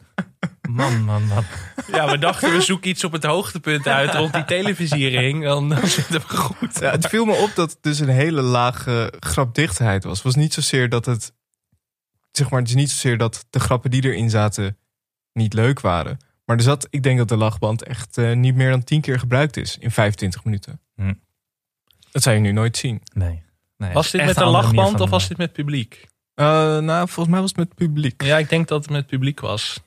B: Man, man, man.
C: ja, we dachten we zoeken iets op het hoogtepunt uit rond die televisiering. Dan, dan zitten we goed.
A: ja, het viel me op dat het dus een hele lage grapdichtheid was. Het was niet zozeer dat het, zeg maar, het is niet zozeer dat de grappen die erin zaten niet leuk waren. Maar er zat, ik denk dat de lachband echt eh, niet meer dan tien keer gebruikt is in 25 minuten.
B: Hm.
A: Dat zou je nu nooit zien.
B: Nee. nee
C: Was dit
B: echt
C: met een
B: andere manier
C: lachband
B: van-
C: of was dit met publiek?
A: Eh, nou, volgens mij was het met publiek.
C: Ja, ik denk dat het met publiek was.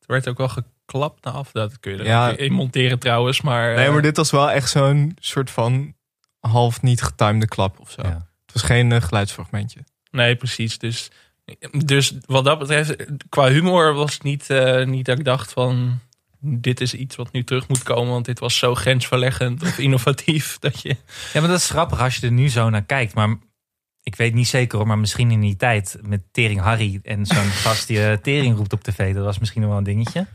C: Er werd ook wel geklapt na af. Dat kun je er
A: Ja.
C: ook in monteren trouwens, maar...
A: Nee,
C: eh,
A: maar dit was wel echt zo'n soort van half niet getimede klap of zo.
B: Ja.
A: Het was geen eh, geluidsfragmentje.
C: nee, precies. Dus, dus wat dat betreft, qua humor was het niet, eh, niet dat ik dacht van... Dit is iets wat nu terug moet komen, want dit was zo grensverleggend of [laughs] innovatief. Dat je...
B: Ja, maar dat is grappig als je er nu zo naar kijkt. Maar ik weet niet zeker hoor, maar misschien in die tijd met Tering Harry en [laughs] zo'n gast die eh, Tering roept op tv, dat was misschien nog wel een dingetje.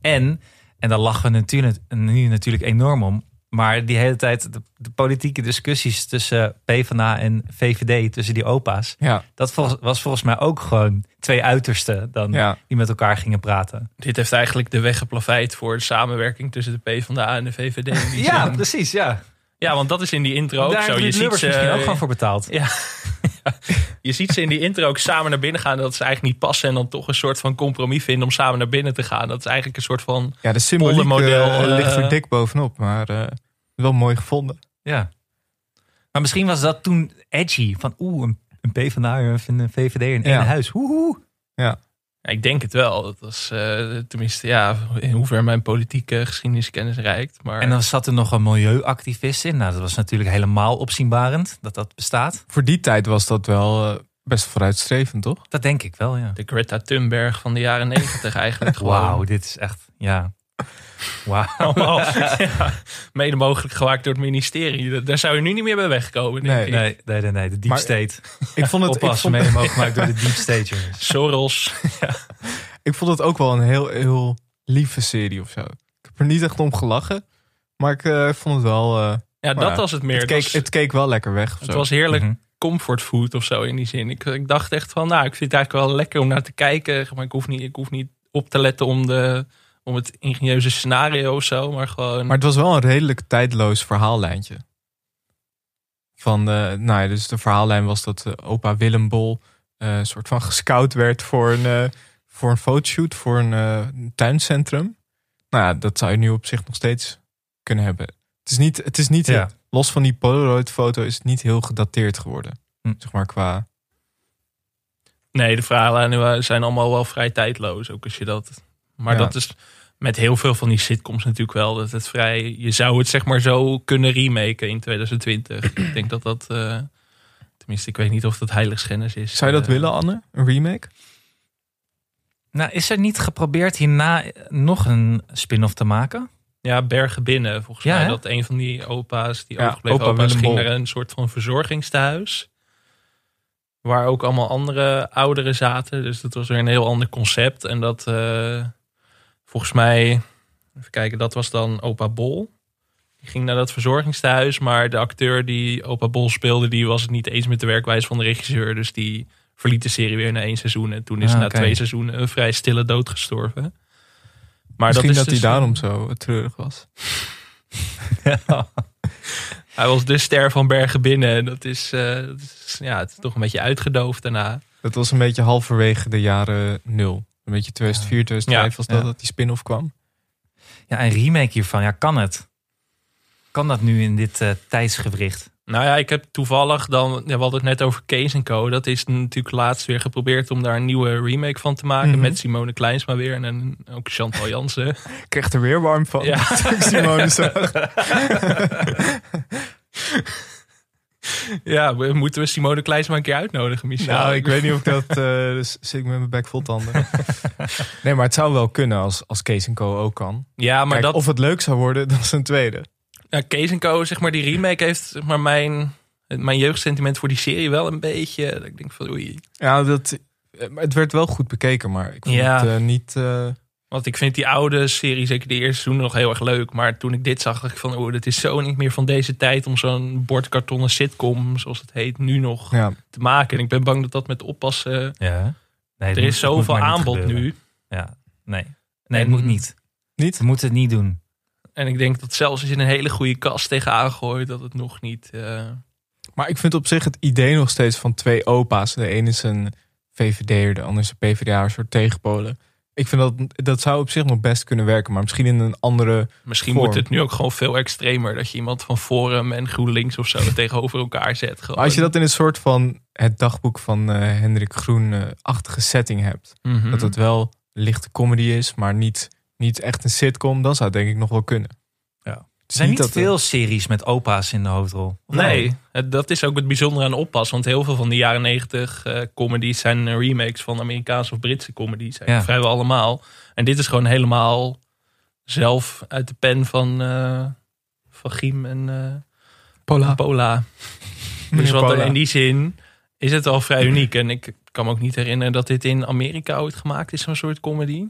B: En, en daar lachen we natuurlijk, nu natuurlijk enorm om. Maar die hele tijd, de, de politieke discussies tussen PvdA en VVD, tussen die opa's.
A: Ja,
B: Dat volgens- was volgens mij ook gewoon twee uitersten dan
A: ja.
B: die met elkaar gingen praten.
C: Dit heeft eigenlijk de weg geplaveid voor de samenwerking tussen de PvdA en de VVD. in die
B: Ja,
C: zin.
B: precies, ja.
C: ja, want dat is in die intro ook
B: Daar
C: zo.
B: hebben
C: Je
B: die
C: ziet
B: Lubbers
C: ze
B: misschien ook gewoon voor betaald.
C: Je ziet ze in die intro ook samen naar binnen gaan. Dat ze eigenlijk niet passen. En dan toch een soort van compromis vinden om samen naar binnen te gaan. Dat is eigenlijk een soort van...
A: ja de symboliek
C: Poldermodel,
A: eh, ligt
C: eh,
A: er dik bovenop, maar eh, wel mooi gevonden.
B: Ja. Maar misschien was dat toen edgy. Van oeh, een, een PvdA of een VVD in één
A: Ja.
B: huis. Woehoe.
C: Ja, ik denk het wel. Dat was eh, tenminste, ja, in hoeverre mijn politieke geschiedeniskennis reikt. Maar
B: En dan zat er nog een milieuactivist in. Nou, dat was natuurlijk helemaal opzienbarend dat dat bestaat.
A: Voor die tijd was dat wel eh, best vooruitstrevend, toch?
B: Dat denk ik wel, ja.
C: de Greta Thunberg van de jaren
B: [laughs]
C: negentig eigenlijk gewoon.
B: Wauw, dit is echt,
A: [laughs]
B: ja. Wauw. [laughs]
C: Allemaal, ja, mede mogelijk gemaakt door het ministerie. Da- Daar zou je nu niet meer bij wegkomen, denk
A: Nee.
C: ik.
B: Nee, nee, nee, nee, de deep
A: Maar-
B: state.
A: Ik vond het, ik
B: Oppassen,
A: vond,
B: mede mogelijk gemaakt door de deep state,
A: [laughs]
B: jongens.
C: Soros.
A: ik vond het ook wel een heel, heel lieve serie of zo. Ik heb er niet echt om gelachen, maar ik eh, vond het wel... eh,
B: [laughs]
C: Ja,
A: Nou
C: dat
A: ja,
C: was het meer.
A: het,
C: Het
A: keek,
C: was,
A: het keek wel lekker weg. of
C: het
A: zo.
C: was heerlijk
B: Mhm.
C: comfort food of zo in die zin. Ik, ik dacht echt van, nou, ik vind het eigenlijk wel lekker om naar te kijken. Maar ik hoef niet, ik hoef niet op te letten om, de, om het ingenieuze
A: Mm.
C: scenario of zo. Maar gewoon,
A: Maar het was wel een redelijk tijdloos verhaallijntje. Van, eh, nou ja, dus de verhaallijn was dat eh, opa Willem Bol eh, soort van gescout werd voor een, eh, voor een fotoshoot, voor een eh, tuincentrum. Nou ja, dat zou je nu op zich nog steeds kunnen hebben. Het is niet, het is niet
B: Ja.
A: los van die Polaroid-foto is het niet heel gedateerd geworden.
B: Hm.
A: Zeg maar qua...
C: Nee, de verhalen zijn allemaal wel vrij tijdloos. Ook als je dat. Maar
A: Ja.
C: dat is met heel veel van die sitcoms natuurlijk wel. Dat het vrij. Je zou het zeg maar zo kunnen remaken in 2020. ik denk dat dat. eh, tenminste, ik weet niet of dat heiligschennis is.
A: Zou je dat
C: Eh,
A: willen, Anne? Een remake?
B: Nou, is er niet geprobeerd hierna nog een spin-off te maken?
C: Ja, Bergen Binnen. Volgens
B: Ja,
C: mij
B: hè?
C: dat een van die opa's, die
A: Ja,
C: overgebleven
A: opa
C: opa's,
A: Willem
C: ging
A: Bol.
C: naar een soort van verzorgingstehuis. Waar ook allemaal andere ouderen zaten. Dus dat was weer een heel ander concept. En dat eh, volgens mij, even kijken, dat was dan opa Bol. Die ging naar dat verzorgingstehuis, maar de acteur die opa Bol speelde, die was het niet eens met de werkwijze van de regisseur. Dus die verliet de serie weer na één seizoen. En toen is
B: Ah,
C: na
B: oké.
C: twee seizoenen een vrij stille dood gestorven. Maar
A: Misschien
C: is
A: dat, hij
C: dus-
A: daarom zo eh, treurig was.
C: Hij was de ster van Bergen binnen. En dat is, eh, dat is- ja, het is toch een beetje uitgedoofd daarna.
A: Dat was een beetje halverwege de jaren nul. Een beetje 2004, 2005
C: Ja,
A: was dat,
B: ja.
A: dat die spin-off kwam.
B: Ja, een remake hiervan. Ja, kan het? Kan dat nu in dit eh tijdsgewricht?
C: Nou ja, ik heb toevallig dan, ja, we hadden het net over Kees Co. Dat is natuurlijk laatst weer geprobeerd om daar een nieuwe remake van te maken.
A: Mhm.
C: Met Simone Kleinsma weer en, en ook Chantal Jansen. [laughs]
A: Ik kreeg er weer warm van. [laughs]
C: Ja. Nou,
A: toen ik Simone
C: [laughs]
A: zag.
C: ja, we- moeten we Simone Kleinsma een keer uitnodigen, Michel?
A: Nou,
C: [laughs]
A: ik weet niet of ik dat... eh, dus zit ik met mijn bek vol tanden. [laughs] Nee, maar het zou wel kunnen als, als Kees Co. ook kan.
C: Ja, maar
A: Maar
C: dat,
A: Of het leuk zou worden, [laughs] dat is een tweede.
C: Ja, Kees Co, zeg maar, die remake heeft zeg maar, mijn, mijn jeugdsentiment voor die serie wel een beetje. Dat ik denk van oei.
A: Ja, dat, eh, maar het werd wel goed bekeken, maar ik vond
C: Ja.
A: het eh, niet... eh,
C: Want ik vind die oude serie, zeker de eerste seizoenen, nog heel erg leuk. Maar toen ik dit zag, dacht ik van... oh, dat is zo niet meer van deze tijd om zo'n bordkartonnen sitcom... zoals het heet, nu nog
A: ja.
C: te maken. En ik ben bang dat dat met oppassen...
B: Ja. Nee,
C: er is zoveel aanbod
B: nu.
C: nu.
B: Ja, nee. Nee,
C: En-
B: het moet niet.
A: Niet?
B: We moeten het niet doen.
C: En ik denk dat zelfs als je een hele goede kast tegenaan gooit... dat het nog niet... eh,
A: Maar ik vind op zich het idee nog steeds van twee opa's. De een is een VVD'er, de ander is een PvdA, een soort tegenpolen. Ik vind dat, dat zou op zich nog best kunnen werken. Maar misschien in een andere...
C: misschien
A: Vorm.
C: moet het nu ook gewoon veel extremer... dat je iemand van Forum en GroenLinks of zo [laughs] tegenover elkaar zet. Gewoon.
A: Maar als je dat in een soort van het dagboek van eh, Hendrik Groen-achtige setting hebt.
C: Mhm.
A: Dat het wel lichte comedy is, maar niet, niet echt een sitcom. Dan zou het denk ik nog wel kunnen.
B: Ja.
A: Het is
B: Er zijn niet,
A: dat-
B: veel series met opa's in de hoofdrol. Of
A: nou?
B: wel?
C: Nee, het- dat is ook het bijzondere aan oppas. Want heel veel van de jaren negentig comedies zijn eh, remakes van Amerikaanse of Britse comedies.
B: Ja.
C: eigenlijk Vrijwel allemaal. En dit is gewoon helemaal zelf uit de pen van, eh van Giem en eh,
A: Pola. [laughs]
C: Pola. Dus
A: Meneer
C: wat dan
A: Pola.
C: in die zin is het al vrij uniek. En ik kan me ook niet herinneren dat dit in Amerika ooit gemaakt is, zo'n soort comedy.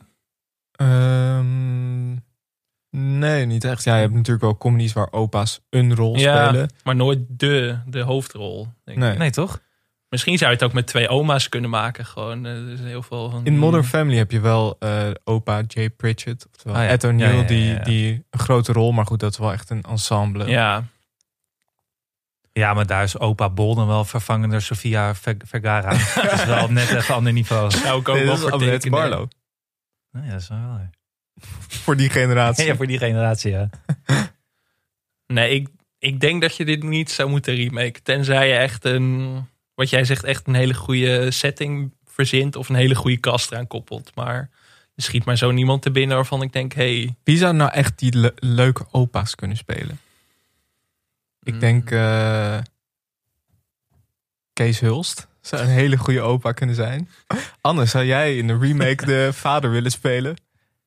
A: Ehm, nee, niet echt. Ja, je hebt natuurlijk wel comedies waar opa's een rol
C: Ja.
A: spelen.
C: Maar nooit de, de hoofdrol. denk ik.
A: Nee.
B: Nee, toch?
C: Misschien zou je het ook met twee oma's kunnen maken. Gewoon, eh, er zijn heel veel van
A: In
C: die-
A: Modern Family heb je wel eh, opa Jay Pritchett, oftewel
B: Ah, ja.
A: Ed O'Neill,
B: Ja, ja, ja,
A: Die,
B: ja.
A: die een grote rol, maar goed, dat is wel echt een ensemble.
C: Ja,
B: Ja, maar daar is opa Bol dan wel vervangen door Sofia Ver- [laughs] Vergara. dat is wel op net even een ander niveau.
C: Nou, ik ook
A: Nee,
C: wel
A: dat is
C: voor
A: Annette
C: tekenen.
A: Barlow.
B: Nee, dat is wel waar.
A: Voor die [laughs] generatie.
B: Ja, voor die generatie, ja.
C: Nee, ik, ik denk dat je dit niet zou moeten remaken. Tenzij je echt een, wat jij zegt, echt een hele goede setting verzint. Of een hele goede kast eraan koppelt. Maar er schiet maar zo niemand te binnen waarvan ik denk, hey, [laughs]
A: Wie zou nou echt die le- leuke opa's kunnen spelen? Ik
C: Mm.
A: denk eh, Kees Hulst zou een hele goede opa kunnen [laughs] zijn. Anne, zou jij in de remake [laughs] de vader willen spelen?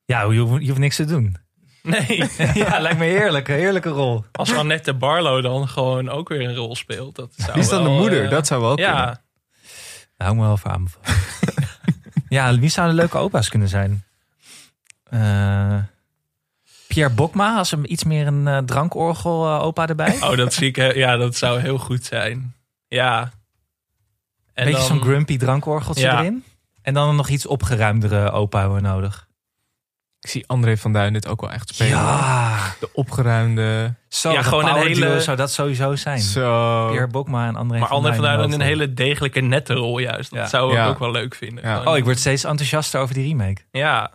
B: Ja, je hoeft, je hoeft niks te doen.
C: nee.
B: [laughs] Ja, lijkt me heerlijk. Een heerlijke rol.
C: Als Annette Barlow dan gewoon ook weer een rol speelt. Dat zou
A: Die is dan de
C: wel,
A: moeder,
C: eh,
A: dat zou wel kunnen.
C: ja,
B: Daar hou ik me wel voor aan. [laughs] ja, wie zouden leuke opa's kunnen zijn? Eh, Pierre Bokma, als hem iets meer een eh, drankorgel eh, opa erbij. Een
C: oh, dat zie ik. he- Ja, dat zou heel goed zijn. Ja. En
B: Beetje
C: dan-
B: zo'n grumpy drankorgeltje
C: Ja.
B: erin. En dan nog iets opgeruimdere opa hebben we nodig.
A: Ik zie André van Duin dit ook wel echt spelen.
B: Ja,
A: De opgeruimde.
B: zo,
C: Ja,
B: ja
C: gewoon
B: gewoon
C: een
B: een
C: hele-
B: hele... zou dat sowieso zijn.
A: Zo.
B: Pierre Bokma en André
C: Maar André van Duin in een
B: Hoofdrol.
C: hele degelijke nette rol juist. Dat
B: Ja.
C: zou ik
A: Ja.
C: ook wel leuk vinden.
A: Ja.
C: Gewoon-
B: Oh, ik word steeds enthousiaster over die remake.
C: ja.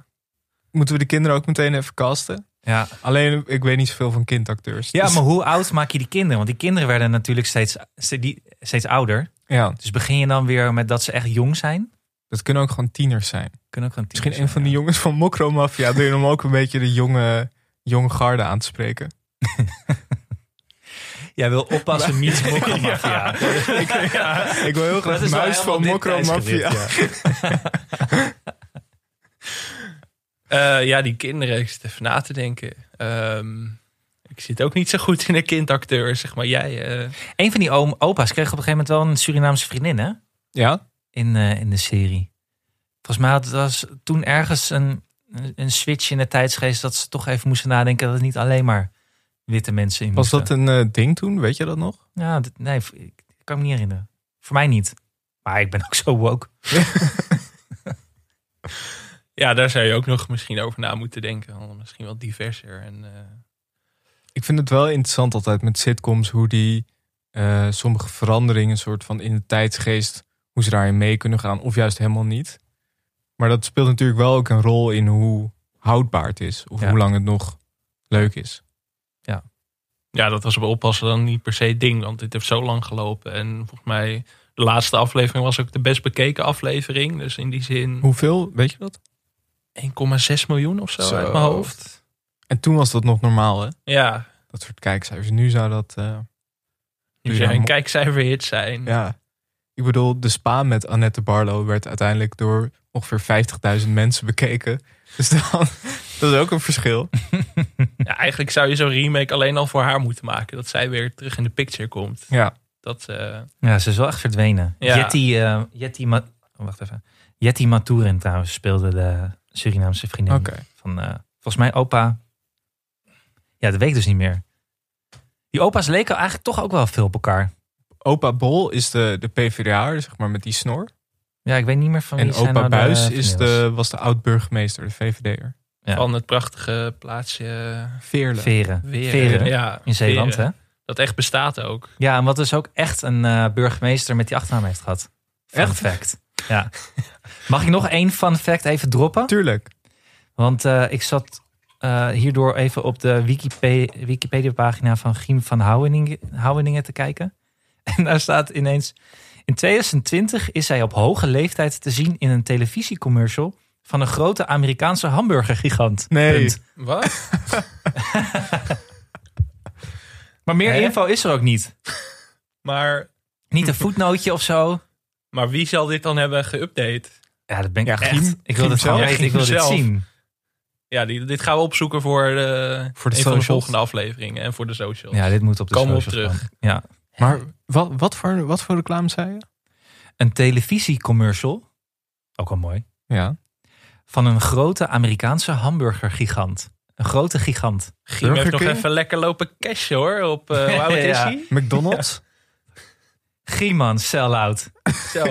A: Moeten we de kinderen ook meteen even casten?
B: Ja,
A: Alleen, ik weet niet zoveel van kindacteurs.
B: ja
A: Dus-
B: maar hoe oud maak je die kinderen? Want die kinderen werden natuurlijk steeds, ste- die- steeds ouder.
A: ja,
B: Dus begin je dan weer met dat ze echt jong zijn?
A: dat kunnen ook gewoon tieners zijn. Dus,
B: Kunnen ook gewoon tieners
A: Misschien een van
B: zijn,
A: die
B: ja.
A: jongens van Mokro Mafia. Doe je hem ook een beetje de jonge, jonge garde aan te spreken?
B: Jij wil [laughs] oppassen, Miets Mokka [laughs] Mafia.
A: [laughs] Ik wil heel graag de muis van Mokro Mafia.
C: Eh, ja, die kinderen. Ik zit even na te denken. Ehm, ik zit ook niet zo goed in een kindacteur, zeg maar. Jij, eh,
B: Een van die oom, opa's kreeg op een gegeven moment wel een Surinaamse vriendin, hè?
A: Ja?
B: In, eh, in de serie. Volgens mij had, was toen ergens een, een- een switch in de tijdsgeest... dat ze toch even moesten nadenken dat het niet alleen maar witte mensen in
A: Was
B: moesten.
A: dat een eh, ding toen? Weet je dat nog?
B: Ja, dit- nee, v- ik ik kan me niet herinneren. Voor mij niet. Maar ik ben ook zo woke.
C: ja, daar zou je ook nog misschien over na moeten denken. Want Misschien wel diverser. En, eh,
A: Ik vind het wel interessant altijd met sitcoms hoe die eh, sommige veranderingen soort van in de tijdsgeest, hoe ze daarin mee kunnen gaan of juist helemaal niet. Maar dat speelt natuurlijk wel ook een rol in hoe houdbaar het is of
B: Ja.
A: hoe lang het nog leuk is.
C: ja, dat was bij oppassen dan niet per se het ding. Want dit heeft zo lang gelopen. En volgens mij, de laatste aflevering was ook de best bekeken aflevering. Dus in die zin
A: Hoeveel, weet je dat?
C: 1,6 miljoen of zo,
A: Zo.
C: uit mijn hoofd.
A: En toen was dat nog normaal, hè?
C: Ja,
A: Dat soort kijkcijfers. Nu zou dat... eh,
C: nu
A: Ja,
C: zou een
A: mo-
C: kijkcijferhit zijn.
A: Ja. Ik bedoel, de spa met Annette Barlo werd uiteindelijk door ongeveer 50.000 mensen bekeken. [laughs] Dus dan, dat is ook een verschil.
C: Ja, eigenlijk zou je zo'n remake alleen al voor haar moeten maken. Dat zij weer terug in de picture komt.
A: Ja.
C: Dat, eh,
B: Ja, ze is wel echt verdwenen.
C: Ja.
B: Jetty, eh Jetty Ma- oh, wacht even. Jetty Maturin trouwens speelde de Surinaamse vriendin.
A: Oké.
B: Van, eh, volgens mij opa... Ja, dat weet ik dus niet meer. Die opa's leken eigenlijk toch ook wel veel op elkaar.
A: Opa Bol is de, de PvdA, zeg maar, met die snor.
B: Ja, ik weet niet meer van wie
A: en
B: Oh, zijn
A: opa
B: nou de
A: Buis is
B: vriendinnen
A: de, was de oud-burgemeester, de VVD'er.
B: Ja.
C: Van het prachtige plaatsje
B: was.
A: Veerle.
B: Veren.
C: Weer.
B: Veren.
C: Ja,
B: In Zeeland,
C: Veren.
B: hè?
C: Dat echt bestaat ook.
B: Ja, en wat dus ook echt een eh, burgemeester met die achternaam heeft gehad. Fun
A: Echt?
B: fact. Ja. Mag ik nog één fun fact even droppen?
A: Tuurlijk.
B: Want eh, ik zat eh, hierdoor even op de Wikipe- Wikipedia-pagina van Giem van Houweningen, Houweningen te kijken. [laughs] En daar staat ineens... In 2020 is hij op hoge leeftijd te zien in een televisiecommercial... van een grote Amerikaanse hamburgergigant.
A: Nee.
B: Punt.
C: Wat?
B: Maar meer
C: Hè?
B: info is er ook niet.
C: [laughs] Maar,
B: Niet een voetnootje of zo.
C: maar wie zal dit dan hebben geüpdate?
B: Ja, dat ben ik
A: Ja,
B: echt.
A: Giem-
B: ik wil
A: Giem
B: dit gewoon
A: zelf.
B: weten. Ik wil
C: Giem
B: dit
C: zelf.
B: zien.
C: Ja, die, dit gaan we opzoeken voor, de,
A: Voor de
C: een van de
A: socials.
C: volgende afleveringen. En voor de socials.
B: Ja, dit moet op de
C: Komen we op
B: socials
C: terug.
B: komen. Ja.
A: Maar wat, wat, voor, wat voor reclame zei je?
B: Een televisiecommercial, ook al mooi,
A: Ja.
B: van een grote Amerikaanse hamburgergigant. Een grote gigant.
C: Giem heeft
A: Burger
C: nog
A: King?
C: even lekker lopen cashen hoor. Op,
B: [laughs]
C: eh hoe oud is
B: Ja.
C: hij?
A: McDonald's?
B: Gieman, sell-out. [laughs]
C: Zo.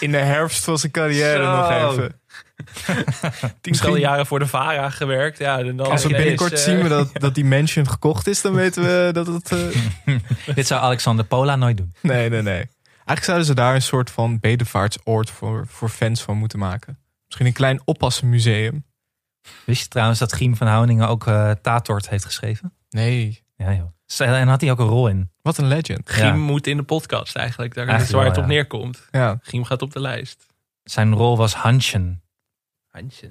A: In de herfst was zijn carrière
B: Zo.
A: nog even.
C: Tientallen jaren voor de VARA gewerkt. Ja, en dan
A: Als we
C: ineens,
A: binnenkort
C: eh,
A: zien we dat, dat die mansion gekocht is, dan weten we dat het... eh,
B: Dit zou Alexander Pola nooit doen.
A: Nee, nee, nee. Eigenlijk zouden ze daar een soort van bedevaartsoord voor, voor fans van moeten maken. Misschien een klein oppassenmuseum.
B: Wist je trouwens dat Giem van Houningen ook eh Tatort heeft geschreven?
A: Nee.
B: Ja, joh. Z- En had hij ook een rol in.
A: Wat een legend.
C: Giem
B: Ja.
C: moet in de podcast eigenlijk. Daar is
B: Eigenlijk
C: waar het
B: wel,
C: op
B: ja.
C: neerkomt.
A: Ja.
C: Giem gaat op de lijst.
B: Zijn rol was Hansjen.
C: Handje.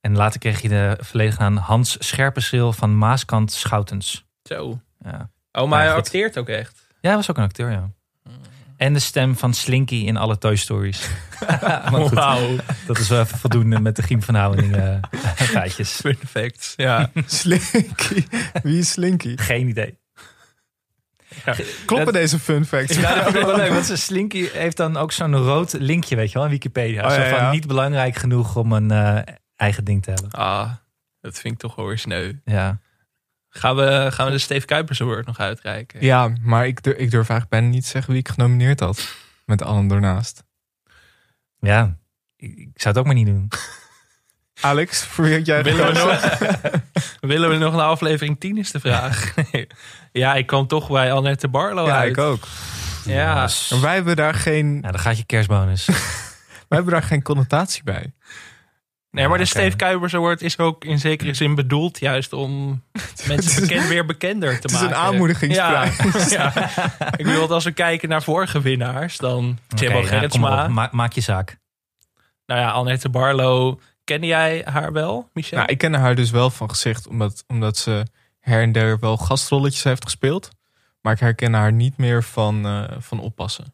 B: En later kreeg hij de volledige naam Hans Scherpenschil van Maaskant Schoutens.
C: Zo.
B: Ja.
C: Oh, maar
B: Ja,
C: hij
B: goed.
C: acteert ook echt.
B: Ja, hij was ook een acteur, ja. En de stem van Slinky in alle Toy Stories. maar goed,
C: Wauw.
B: [laughs] dat is wel even voldoende met de Giem van Houwening eh, feitjes.
C: Fun facts. Ja.
A: [laughs] Slinky. Wie is Slinky?
B: Geen idee.
A: Kloppen
B: Dat-
A: deze fun facts?
B: Ja, dat vind ik wel leuk. Want ze- Slinky heeft dan ook zo'n rood linkje, weet je wel, in Wikipedia.
A: Oh,
B: Zo
A: ja,
B: van
A: ja.
B: niet belangrijk genoeg om een eh, eigen ding te hebben.
C: Ah, dat vind ik toch wel weer sneu.
B: Ja.
C: Gaan we, gaan we de Steve Kuipers Award nog
A: [laughs]
C: uitreiken?
A: Ja, maar ik durf, ik durf eigenlijk bijna niet te zeggen wie ik genomineerd had. Met allen ernaast.
B: Ja. Ik, ik zou het ook maar niet doen.
A: Alex, voor wie had jij [laughs]
C: Willen we,
A: gekozen?
C: nog, willen we nog [laughs] naar aflevering 10 is de vraag. Nee. [laughs] Ja, ik kwam toch bij Annette Barlo
A: Ja,
C: uit.
A: ik ook.
C: Ja.
A: Maar wij hebben daar [laughs] geen,
B: dus- Ja, dan gaat je kerstbonus.
A: wij hebben daar geen connotatie bij.
C: Nee, maar de
B: Ja, oké.
C: Steve Kuipers Award is ook in zekere zin bedoeld juist
A: [laughs]
C: om mensen
A: is-
C: bekend, weer bekender te
A: Het is
C: maken.
A: een aanmoedigingsvraag.
C: Ja, [laughs] ja. Ik bedoel, als we kijken naar vorige winnaars, dan Jimbo
B: Oké, nou, kom
C: Gerritsma.
B: maar op. Ma- maak je zaak.
C: nou ja, Annette Barlo. Ken jij haar wel, Michel?
A: Nou, ik ken haar dus wel van gezicht, omdat, omdat ze her en der wel gastrolletjes heeft gespeeld. Maar ik herken haar niet meer van, eh, van oppassen.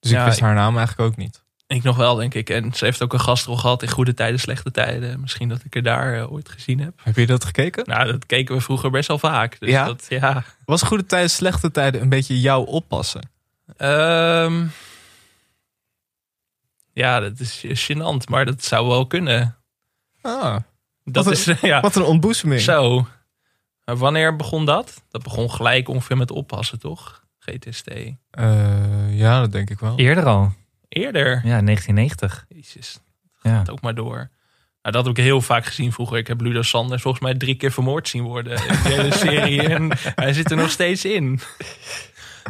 A: Dus
C: Ja,
A: ik wist
C: ik-
A: haar naam eigenlijk ook niet.
C: Ik nog wel, denk ik. En ze heeft ook een gastrol gehad in Goede Tijden, Slechte Tijden. Misschien dat ik er daar eh, ooit gezien heb.
A: Heb je dat gekeken?
C: Nou, dat keken we vroeger best wel vaak. Dus
A: Ja?
C: Dat, ja.
A: Was goede tijden, slechte tijden een beetje jouw oppassen?
C: Ehm, ja, dat is gênant, maar dat zou wel kunnen.
A: Ah,
C: Dat
A: Wat
C: is, [laughs] ja,
A: wat een ontboezeming.
C: zo. Maar wanneer begon dat? Dat begon gelijk ongeveer met oppassen, toch? GTST.
A: Eh, ja, dat denk ik wel.
B: Eerder al.
C: Eerder.
B: Ja, 1990.
C: Jezus,
B: Ja.
C: het ook maar door. Nou, dat heb ik heel vaak gezien vroeger. Ik heb Ludo Sanders volgens mij drie keer vermoord zien worden in de hele
B: [laughs]
C: serie. En hij zit er nog steeds in.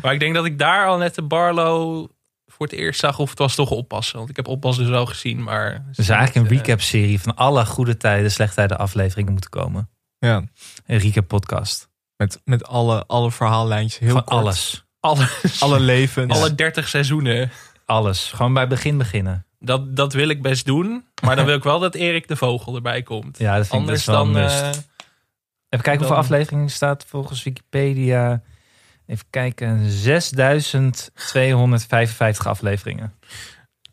C: Maar ik denk dat ik daar al net de Barlow voor het eerst zag. Of het was toch oppassen. Want ik heb oppassen dus wel gezien. Maar
B: Dus eigenlijk
C: eh,
B: een recap-serie van alle goede tijden, slechte tijden afleveringen moeten komen.
A: Ja,
B: Een recap-podcast.
A: met, met alle, alle verhaallijntjes, heel
B: Van
A: kort.
B: alles.
C: Alles, eh, alle,
A: Alle levens.
C: alle 30 seizoenen.
B: Alles. Gewoon bij begin beginnen.
C: Dat, dat wil ik best doen.
B: [laughs]
C: Maar dan wil ik wel dat Erik de Vogel erbij komt.
B: Ja, dat vind
C: Anders
B: ik best wel
C: dan.
B: een must.
C: eh,
B: Even kijken hoeveel
C: dan-
B: afleveringen er staat volgens Wikipedia. Even kijken. 6255 afleveringen.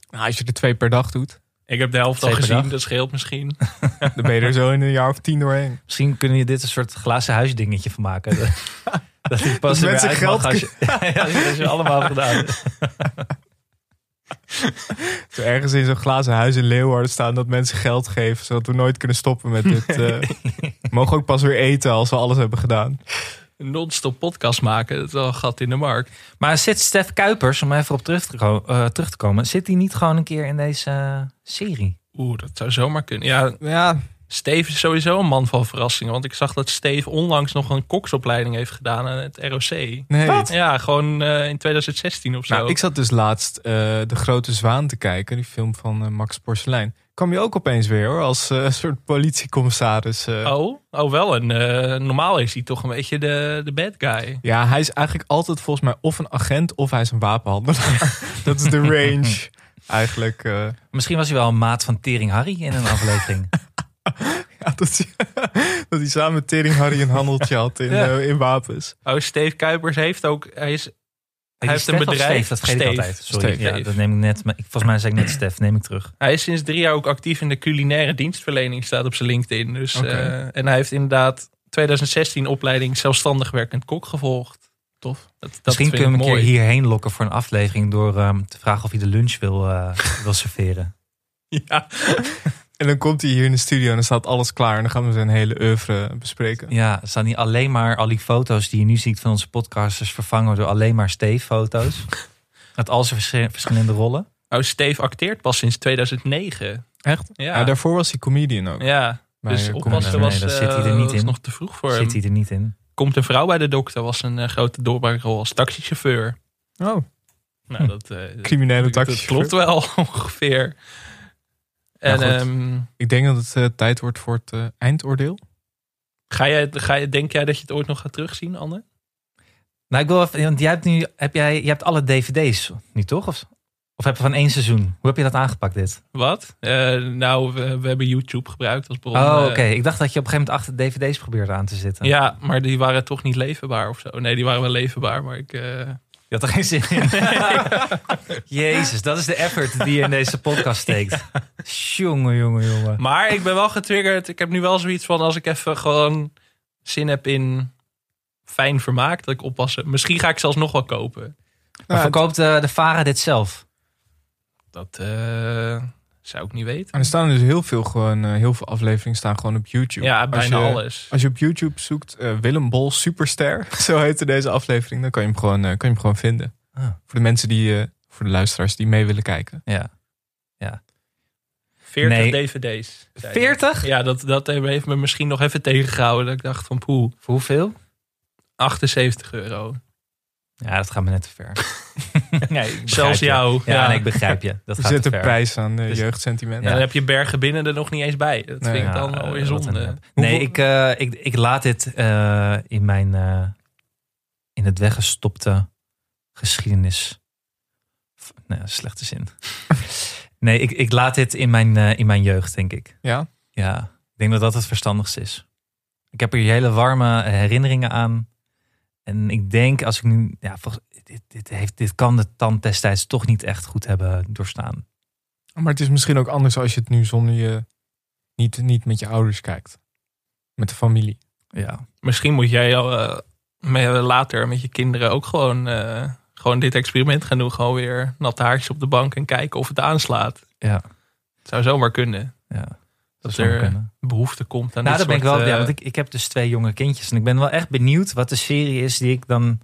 A: Nou, als je er twee per dag doet,
C: ik heb de helft al
B: Twee per
C: gezien.
B: dag.
C: Dat scheelt misschien.
A: dan ben je er zo in een jaar of tien doorheen.
B: Misschien kunnen je dit een soort glazen huisdingetje van maken. Dat- Dat die pas er weer
A: mensen
B: uit mag
A: geld
B: als je, [laughs] ja, als je het allemaal hebt gedaan.
A: Zo ergens in zo'n glazen huis in Leeuwarden staan dat mensen geld geven, zodat we nooit kunnen stoppen met
C: [laughs]
A: dit. eh, we mogen ook pas weer eten als we alles hebben gedaan.
C: Een non-stop podcast maken. Dat is wel een gat in de markt.
B: Maar zit Stef Kuipers, om even op terug te, ko- eh, terug te komen, zit hij niet gewoon een keer in deze eh, serie?
C: Oeh, dat zou zomaar kunnen. Ja,
A: Ja,
C: Steve is sowieso een man van verrassingen. Want ik zag dat Steve onlangs nog een koksopleiding heeft gedaan aan het ROC.
A: nee.
C: Ja, gewoon eh, in 2016 of zo.
A: Nou, ik zat dus laatst eh, De Grote Zwaan te kijken, die film van eh, Max Porcelein. Kwam je ook opeens weer hoor, als eh, een soort politiecommissaris. eh.
C: Oh, oh wel. Een, eh, normaal is hij toch een beetje de, de bad guy.
A: Ja, hij is eigenlijk altijd volgens mij of een agent of hij is een wapenhandelaar. [laughs] dat is de range eigenlijk. eh.
B: Misschien was hij wel een maat van Tering Harry in een aflevering.
A: ja, dat, hij- [laughs] dat hij samen met Tering Harry een handeltje had in,
C: Ja.
A: eh, in wapens.
C: Oh, Steve Kuipers heeft ook... Hij is,
B: Hij
C: heeft een bedrijf.
B: dat vergeet ik
C: Steve.
B: altijd. Sorry,
A: Steve.
B: Ja, dat neem ik net. Maar ik, volgens mij zei ik net Stef, neem ik terug.
C: hij is sinds drie jaar ook actief in de culinaire dienstverlening. Staat op zijn LinkedIn. Dus,
A: Oké.
C: eh, en hij heeft inderdaad 2016 opleiding zelfstandig werkend kok gevolgd. Tof. Dat, dat
B: Misschien
C: vind
B: kunnen we
C: ik
B: hem een
C: mooi.
B: keer hierheen lokken voor een aflevering door ehm, te vragen of hij de lunch wil,
C: [laughs]
B: eh, wil serveren.
A: [laughs]
C: Ja.
A: En dan komt hij hier in de studio en dan staat alles klaar. En dan gaan we zijn hele oeuvre bespreken.
B: Ja, er staan niet alleen maar al die foto's die je nu ziet van onze podcasters vervangen door alleen maar
C: [laughs]
B: Steve-foto's. Met al zijn verschi- verschillende rollen.
C: Oh, Steve acteert pas sinds 2009.
A: Echt? Ja.
B: Ah,
C: Ja,
A: daarvoor was hij comedian ook.
C: ja.
A: Bij,
C: dus
A: eh,
C: oppassen
B: nee,
C: was,
B: dat
C: eh,
B: zit hij er niet
C: was
B: in.
C: nog te vroeg voor hem.
B: Zit hij er niet in?
C: Komt een vrouw bij de dokter was een eh, grote doorbraakrol als taxichauffeur.
A: Oh,
C: Nou,
B: Hm.
C: dat, eh,
A: criminele
C: dat- dat
A: taxi.
C: klopt wel [laughs] ongeveer. En
A: goed.
C: ehm,
A: Ik denk dat het eh, tijd wordt voor het eh, eindoordeel.
C: ga jij, ga jij, denk jij dat je het ooit nog gaat terugzien, Anne?
B: Nou, ik wil even, want jij hebt nu, heb jij, je hebt alle DVD's nu toch? Of, of heb je van één seizoen? Hoe heb je dat aangepakt dit?
C: Wat? Eh, nou, we, we hebben YouTube gebruikt als bron.
B: oh,
C: eh,
B: oké. Ik dacht dat je op een gegeven moment achter DVD's probeerde aan te zitten.
C: Ja, maar die waren toch niet leverbaar of zo. Nee, die waren wel leverbaar, maar ik... eh,
B: Je had er geen zin in. [laughs] Jezus, dat is de effort die je in deze podcast [laughs] steekt. Jongen, jongen, jongen.
C: Maar ik ben wel getriggerd. Ik heb nu wel zoiets van als ik even gewoon zin heb in fijn vermaak, dat ik oppassen. Misschien ga ik zelfs nog wel kopen.
B: Maar
A: Nou,
B: verkoopt eh, de Vara dit zelf?
C: Dat eh, zou ik niet weten.
A: en er staan dus heel veel, gewoon, eh, heel veel afleveringen staan gewoon op YouTube.
C: Ja,
A: als je,
C: bijna alles.
A: Als je op YouTube zoekt eh, Willem Bol Superster, [laughs] zo heette deze aflevering, dan kan je hem gewoon, eh, kan je hem gewoon vinden.
B: Ah.
A: Voor de mensen die, eh, voor de luisteraars die mee willen kijken.
B: Ja. ja.
C: 40
B: Nee.
C: dvd's. zei hij.
B: 40?
C: Ja, dat, dat heeft me misschien nog even tegengehouden. Dat ik dacht van poeh,
B: Voor hoeveel?
C: 78 euro.
B: Ja, dat gaat me net te ver. [laughs] nee, ik begrijp
C: Zelfs
B: je.
C: jou.
B: Ja,
C: Ja.
B: nee, ik begrijp je. Dat
A: Je
B: gaat
A: zet
B: te
A: een
B: ver.
A: prijs aan eh,
B: Dus-
A: jeugdsentiment.
C: En dan heb je bergen binnen er nog niet eens bij. Dat
A: Nee.
C: vind ik
B: Ja,
C: dan alweer
B: eh, wat
C: zonde.
B: een- Nee,
A: Hoeveel-
B: ik, eh, ik, ik laat dit eh, in mijn eh, in het weggestopte geschiedenis. F- Nee, slechte zin. nee, ik, ik laat dit in mijn, eh, in mijn jeugd, denk ik.
A: Ja?
B: Ja, ik denk dat dat het verstandigste is. Ik heb hier hele warme herinneringen aan. En ik denk als ik nu. Ja, volgens, dit, dit, heeft, dit kan de tand destijds toch niet echt goed hebben doorstaan.
A: Maar het is misschien ook anders als je het nu zonder je... Niet, niet met je ouders kijkt. Met de familie.
B: Ja.
C: Misschien moet jij al, eh, me- later met je kinderen ook gewoon, eh, gewoon dit experiment gaan doen. Gewoon weer natte haartjes op de bank en kijken of het aanslaat.
B: Ja.
C: Het zou zomaar kunnen.
B: ja dat
C: Dat,
B: zou
C: er
B: kunnen.
C: behoefte komt aan
B: Nou,
C: dit
B: dat ben ik
C: soort,
B: wel. ja,
C: eh,
B: want ik, ik heb dus twee jonge kindjes. En ik ben wel echt benieuwd wat de serie is die ik dan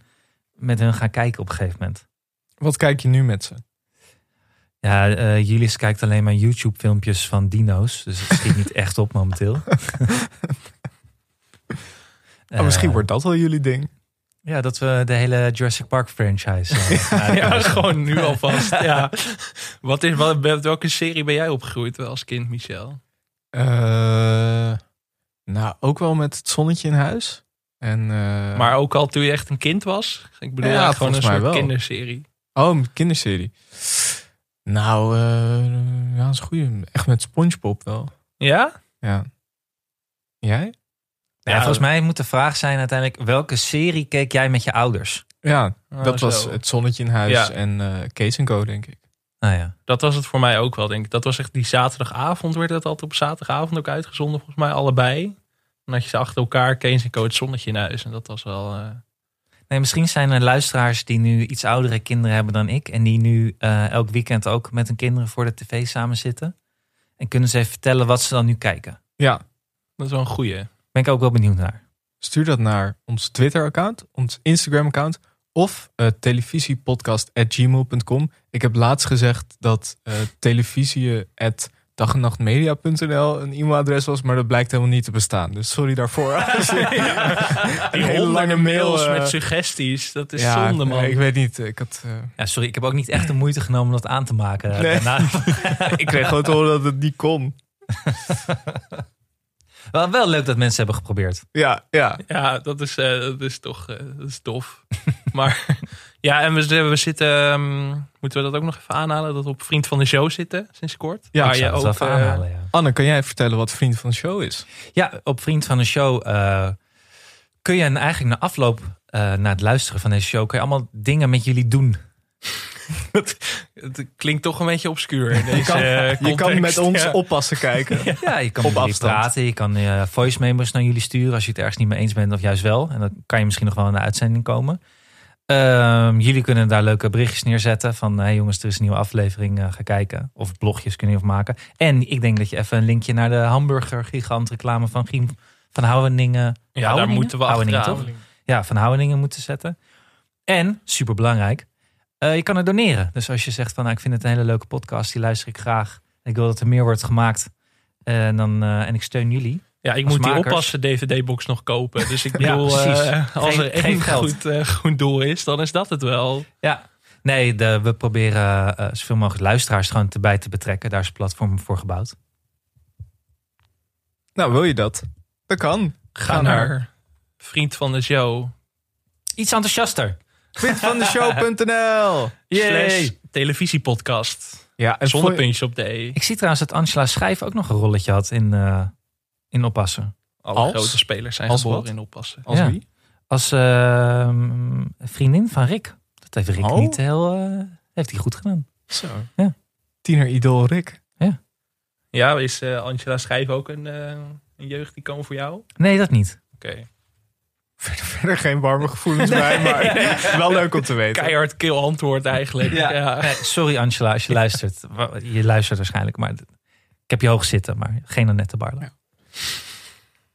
B: met hun ga kijken op een gegeven moment.
A: Wat kijk je nu met ze?
B: Ja, eh Julius kijkt alleen maar YouTube-filmpjes van dino's. Dus het schiet
C: [laughs]
B: niet echt op momenteel.
C: Oh,
A: Ah, misschien
B: Eh,
A: wordt dat wel jullie ding.
B: Ja, dat we de hele Jurassic Park franchise.
C: [laughs]
B: eh, [laughs] uit-
C: Ja, gewoon nu
B: [laughs]
C: alvast. ja. wat is, wat, met welke serie ben jij opgegroeid wel als kind, Michel?
A: Eh, nou, ook wel met het zonnetje in huis. En, eh,
C: Maar ook al toen je echt een kind was? Ik bedoel,
A: Ja,
C: eigenlijk gewoon een
A: volgens mij
C: soort
A: wel.
C: kinderserie.
A: Oh, een kinderserie. Nou, eh, ja, dat is een goeie. Echt met Spongebob wel.
C: Ja?
A: Ja. Jij?
B: Ja,
C: Ja,
B: volgens mij moet de vraag zijn uiteindelijk: welke serie keek jij met je ouders?
A: Ja,
C: Oh,
A: dat was
C: zo.
A: het zonnetje in huis
C: Ja.
A: en eh Kees en Co, denk ik.
B: Nou ja,
C: Dat was het voor mij ook wel, denk ik. Dat was echt die zaterdagavond, werd dat altijd op zaterdagavond ook uitgezonden, volgens mij allebei. Dan had je ze achter elkaar, Kees en Co, het zonnetje in huis. En dat was wel... eh,
B: Nee, misschien zijn er luisteraars die nu iets oudere kinderen hebben dan ik. En die nu eh, elk weekend ook met hun kinderen voor de tv samen zitten. En kunnen ze even vertellen wat ze dan nu kijken.
A: Ja,
C: dat is wel een goeie.
B: Ben ik ook wel benieuwd naar.
A: stuur dat naar ons Twitter-account, ons Instagram-account of eh, televisiepodcast.gmail.com. Ik heb laatst gezegd dat eh televisie at dag en nachtmedia.nl een e-mailadres was, maar dat blijkt helemaal niet te bestaan. Dus sorry
C: [laughs]
A: daarvoor.
C: Die
A: [laughs] Een hele lange
C: honderden mails
A: mail, eh,
C: met suggesties, dat is
A: Ja,
C: zonde, man.
A: nee, ik weet niet. Ik, had, eh,
B: Ja, sorry, ik heb ook niet echt de moeite genomen om dat aan te maken. eh,
A: Nee.
B: Daarna- [laughs]
A: ik kreeg gewoon te horen dat het niet kon.
B: wel, wel leuk dat mensen hebben geprobeerd.
A: Ja, ja.
C: [laughs] Ja, dat is, eh, dat is toch eh, dat is tof. [laughs] maar ja, en we, we zitten. ehm, moeten we dat ook nog even aanhalen? Dat we op Vriend van de Show zitten sinds kort.
A: Ja,
C: Waar
A: ik
B: Ja,
C: je
B: dat
C: ook,
B: is wel even
C: eh,
B: aanhalen, ja.
A: Anne, kan jij vertellen wat Vriend van de Show is?
B: Ja, op Vriend van de Show eh, kun je en eigenlijk na afloop, eh, na het luisteren van deze show, kun je allemaal dingen met jullie doen.
C: [laughs] Het klinkt toch een beetje obscuur. In deze,
A: kan- [laughs]
C: eh,
A: Je kan
C: context.
A: met ons
C: Ja.
A: oppassen kijken.
C: [laughs]
B: Ja, je kan
A: Op
B: met jullie
A: afstand.
B: praten. Je kan eh voice memos naar jullie sturen als je het ergens niet mee eens bent of juist wel. En dan kan je misschien nog wel in de uitzending komen. Ehm, jullie kunnen daar leuke berichtjes neerzetten van... hey jongens, er is een nieuwe aflevering, eh, ga kijken. Of blogjes kunnen jullie maken. En ik denk dat je even een linkje naar de hamburger-gigant reclame van Giem van Houweningen...
C: Ja, daar
B: Houweningen?
C: moeten we
B: Houweningen,
C: achteraan.
B: toch? ja, van Houweningen moeten zetten. En, superbelangrijk, eh, je kan er doneren. Dus als je zegt van, nou, ik vind het een hele leuke podcast, die luister ik graag. Ik wil dat er meer wordt gemaakt. En, dan, eh, en ik steun jullie.
C: Ja, ik
B: Als
C: moet die
B: makers.
C: oppassen DVD-box nog kopen. Dus
B: [laughs]
C: ik
B: Ja,
C: bedoel,
B: precies.
C: eh, als
B: Geen-
C: er
B: geen
C: één
B: geld.
C: goed, eh, goed doel is, dan is dat het wel.
B: Ja. Nee, de, we proberen eh, zoveel mogelijk luisteraars gewoon erbij te betrekken. Daar is het platform voor gebouwd.
A: Nou, wil je dat? Dat kan.
C: Ga naar Vriend van de Show.
B: Iets enthousiaster.
A: Vriendvandeshow.nl
C: Slash televisiepodcast.
A: Ja, en
C: Zonder
A: vond,
C: puntjes op de E.
B: Ik zie trouwens dat Angela Schijf ook nog een rolletje had in, eh, in Oppassen.
C: Alle
A: Als?
C: grote spelers zijn
A: Als
C: geboren
A: wat?
C: in oppassen.
A: als
B: Ja.
A: wie?
B: Als eh, vriendin van Rick. Dat heeft Rick
A: Oh.
B: niet heel... eh, heeft hij goed gedaan.
A: Zo.
B: Ja.
A: Tiener idool Rick. [laughs]
C: Ja, is eh, Angela Schijf ook een, eh, een jeugd die kan voor jou? Oké.
B: Nee, dat niet.
A: Verder, verder geen warme gevoelens bij, maar wel leuk om te weten.
C: Keihard kil antwoord eigenlijk. Ja.
B: Nee, Eh, sorry Angela, als je luistert. Je luistert waarschijnlijk, maar ik heb je hoog zitten, maar geen Annette Barla.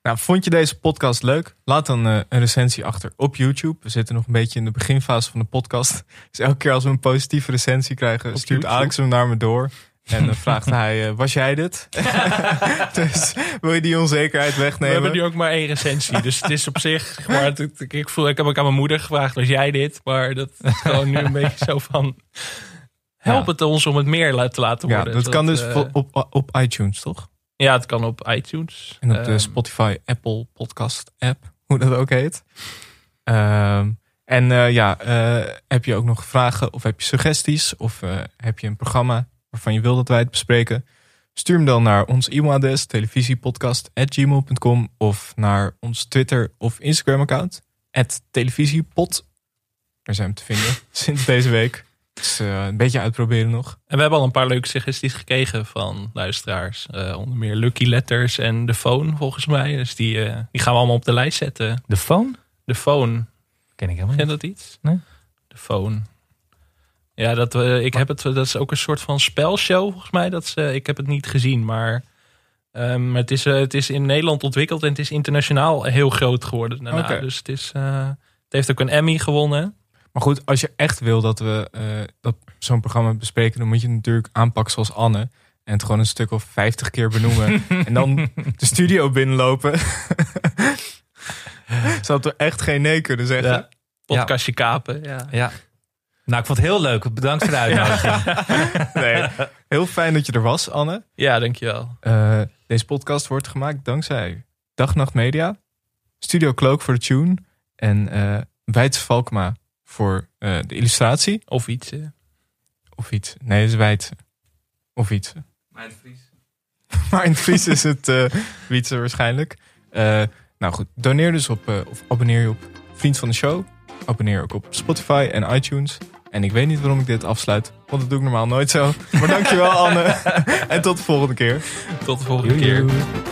A: Nou, vond je deze podcast leuk? Laat dan eh, een recensie achter op YouTube. We zitten nog een beetje in de [laughs] beginfase van de podcast. Dus elke keer als we een positieve recensie krijgen, stuurt
C: YouTube?
A: Alex hem naar me door. En dan vraagt hij, eh, was jij dit? [laughs] dus wil je die onzekerheid
C: We hebben nu
A: wegnemen?
C: ook maar één recensie, dus het is op zich... Maar het- het- ik, voel, ik heb ook aan mijn moeder gevraagd, was jij dit? Maar dat is gewoon nu een beetje zo van... Help
B: Ja.
C: het ons om het meer la- te laten
A: Ja,
C: worden.
A: dat kan dus
C: eh,
A: vo- op, op iTunes, toch?
C: ja, het kan op iTunes.
A: En op de
C: Ehm,
A: eh, Spotify Apple Podcast app, hoe dat ook heet. Ehm, en eh, ja, eh, heb je ook nog vragen of heb je suggesties? Of eh, heb je een programma waarvan je wil dat wij het bespreken? Stuur hem dan naar ons e-mailadres televisiepodcast.gmail.com of naar ons Twitter of Instagram account. televisiepod. Daar zijn we te vinden [laughs] sinds deze week. Dus eh, een beetje uitproberen nog.
C: En we hebben al een paar leuke suggesties gekregen van luisteraars. Eh, onder meer Lucky Letters en De Phone, volgens mij. Dus die, eh, die gaan we allemaal op de lijst zetten.
B: De phone?
C: De Phone,
B: Ken ik helemaal
C: ken
B: niet.
C: dat iets?
B: Nee.
C: De Phone. Ja, dat, eh, ik heb het, dat is ook een soort van spelshow, volgens mij. Dat is, eh, ik heb het niet gezien, maar ehm, het, is, eh, het is in Nederland ontwikkeld... en het is internationaal heel groot geworden daarna.
A: Oké.
C: Dus het, is, eh, het heeft ook een Emmy gewonnen.
A: Maar goed, als je echt wil dat we eh, dat zo'n programma bespreken, dan moet je het natuurlijk aanpakken zoals Anne. En het gewoon een stuk of 50 keer benoemen. en dan de studio binnenlopen. Zou we echt geen nee kunnen zeggen.
B: Ja.
C: Podcastje Kapen, ja.
B: Ja. Nou, ik vond het heel leuk. Bedankt
C: [laughs]
B: voor de uitnodiging.
A: Nee. Heel fijn dat je er was, Anne.
C: Ja, dankjewel.
A: Eh, deze podcast wordt gemaakt dankzij Dag Nacht Media, Studio Cloak voor de tune en eh Wijts Valkma voor eh, de illustratie.
C: Of iets, eh.
A: Of iets. Nee, het is Wijd. Of iets. [laughs] Maar in het Fries is het eh Wietse waarschijnlijk. Eh, nou goed, doneer dus op, eh, of abonneer je op Vriend van de Show. Abonneer ook op Spotify en iTunes. En ik weet niet waarom ik dit afsluit, want
C: [laughs]
A: dat doe ik normaal nooit zo. Maar dankjewel Anne en tot de volgende keer.
C: Tot de volgende keer.
A: Doei.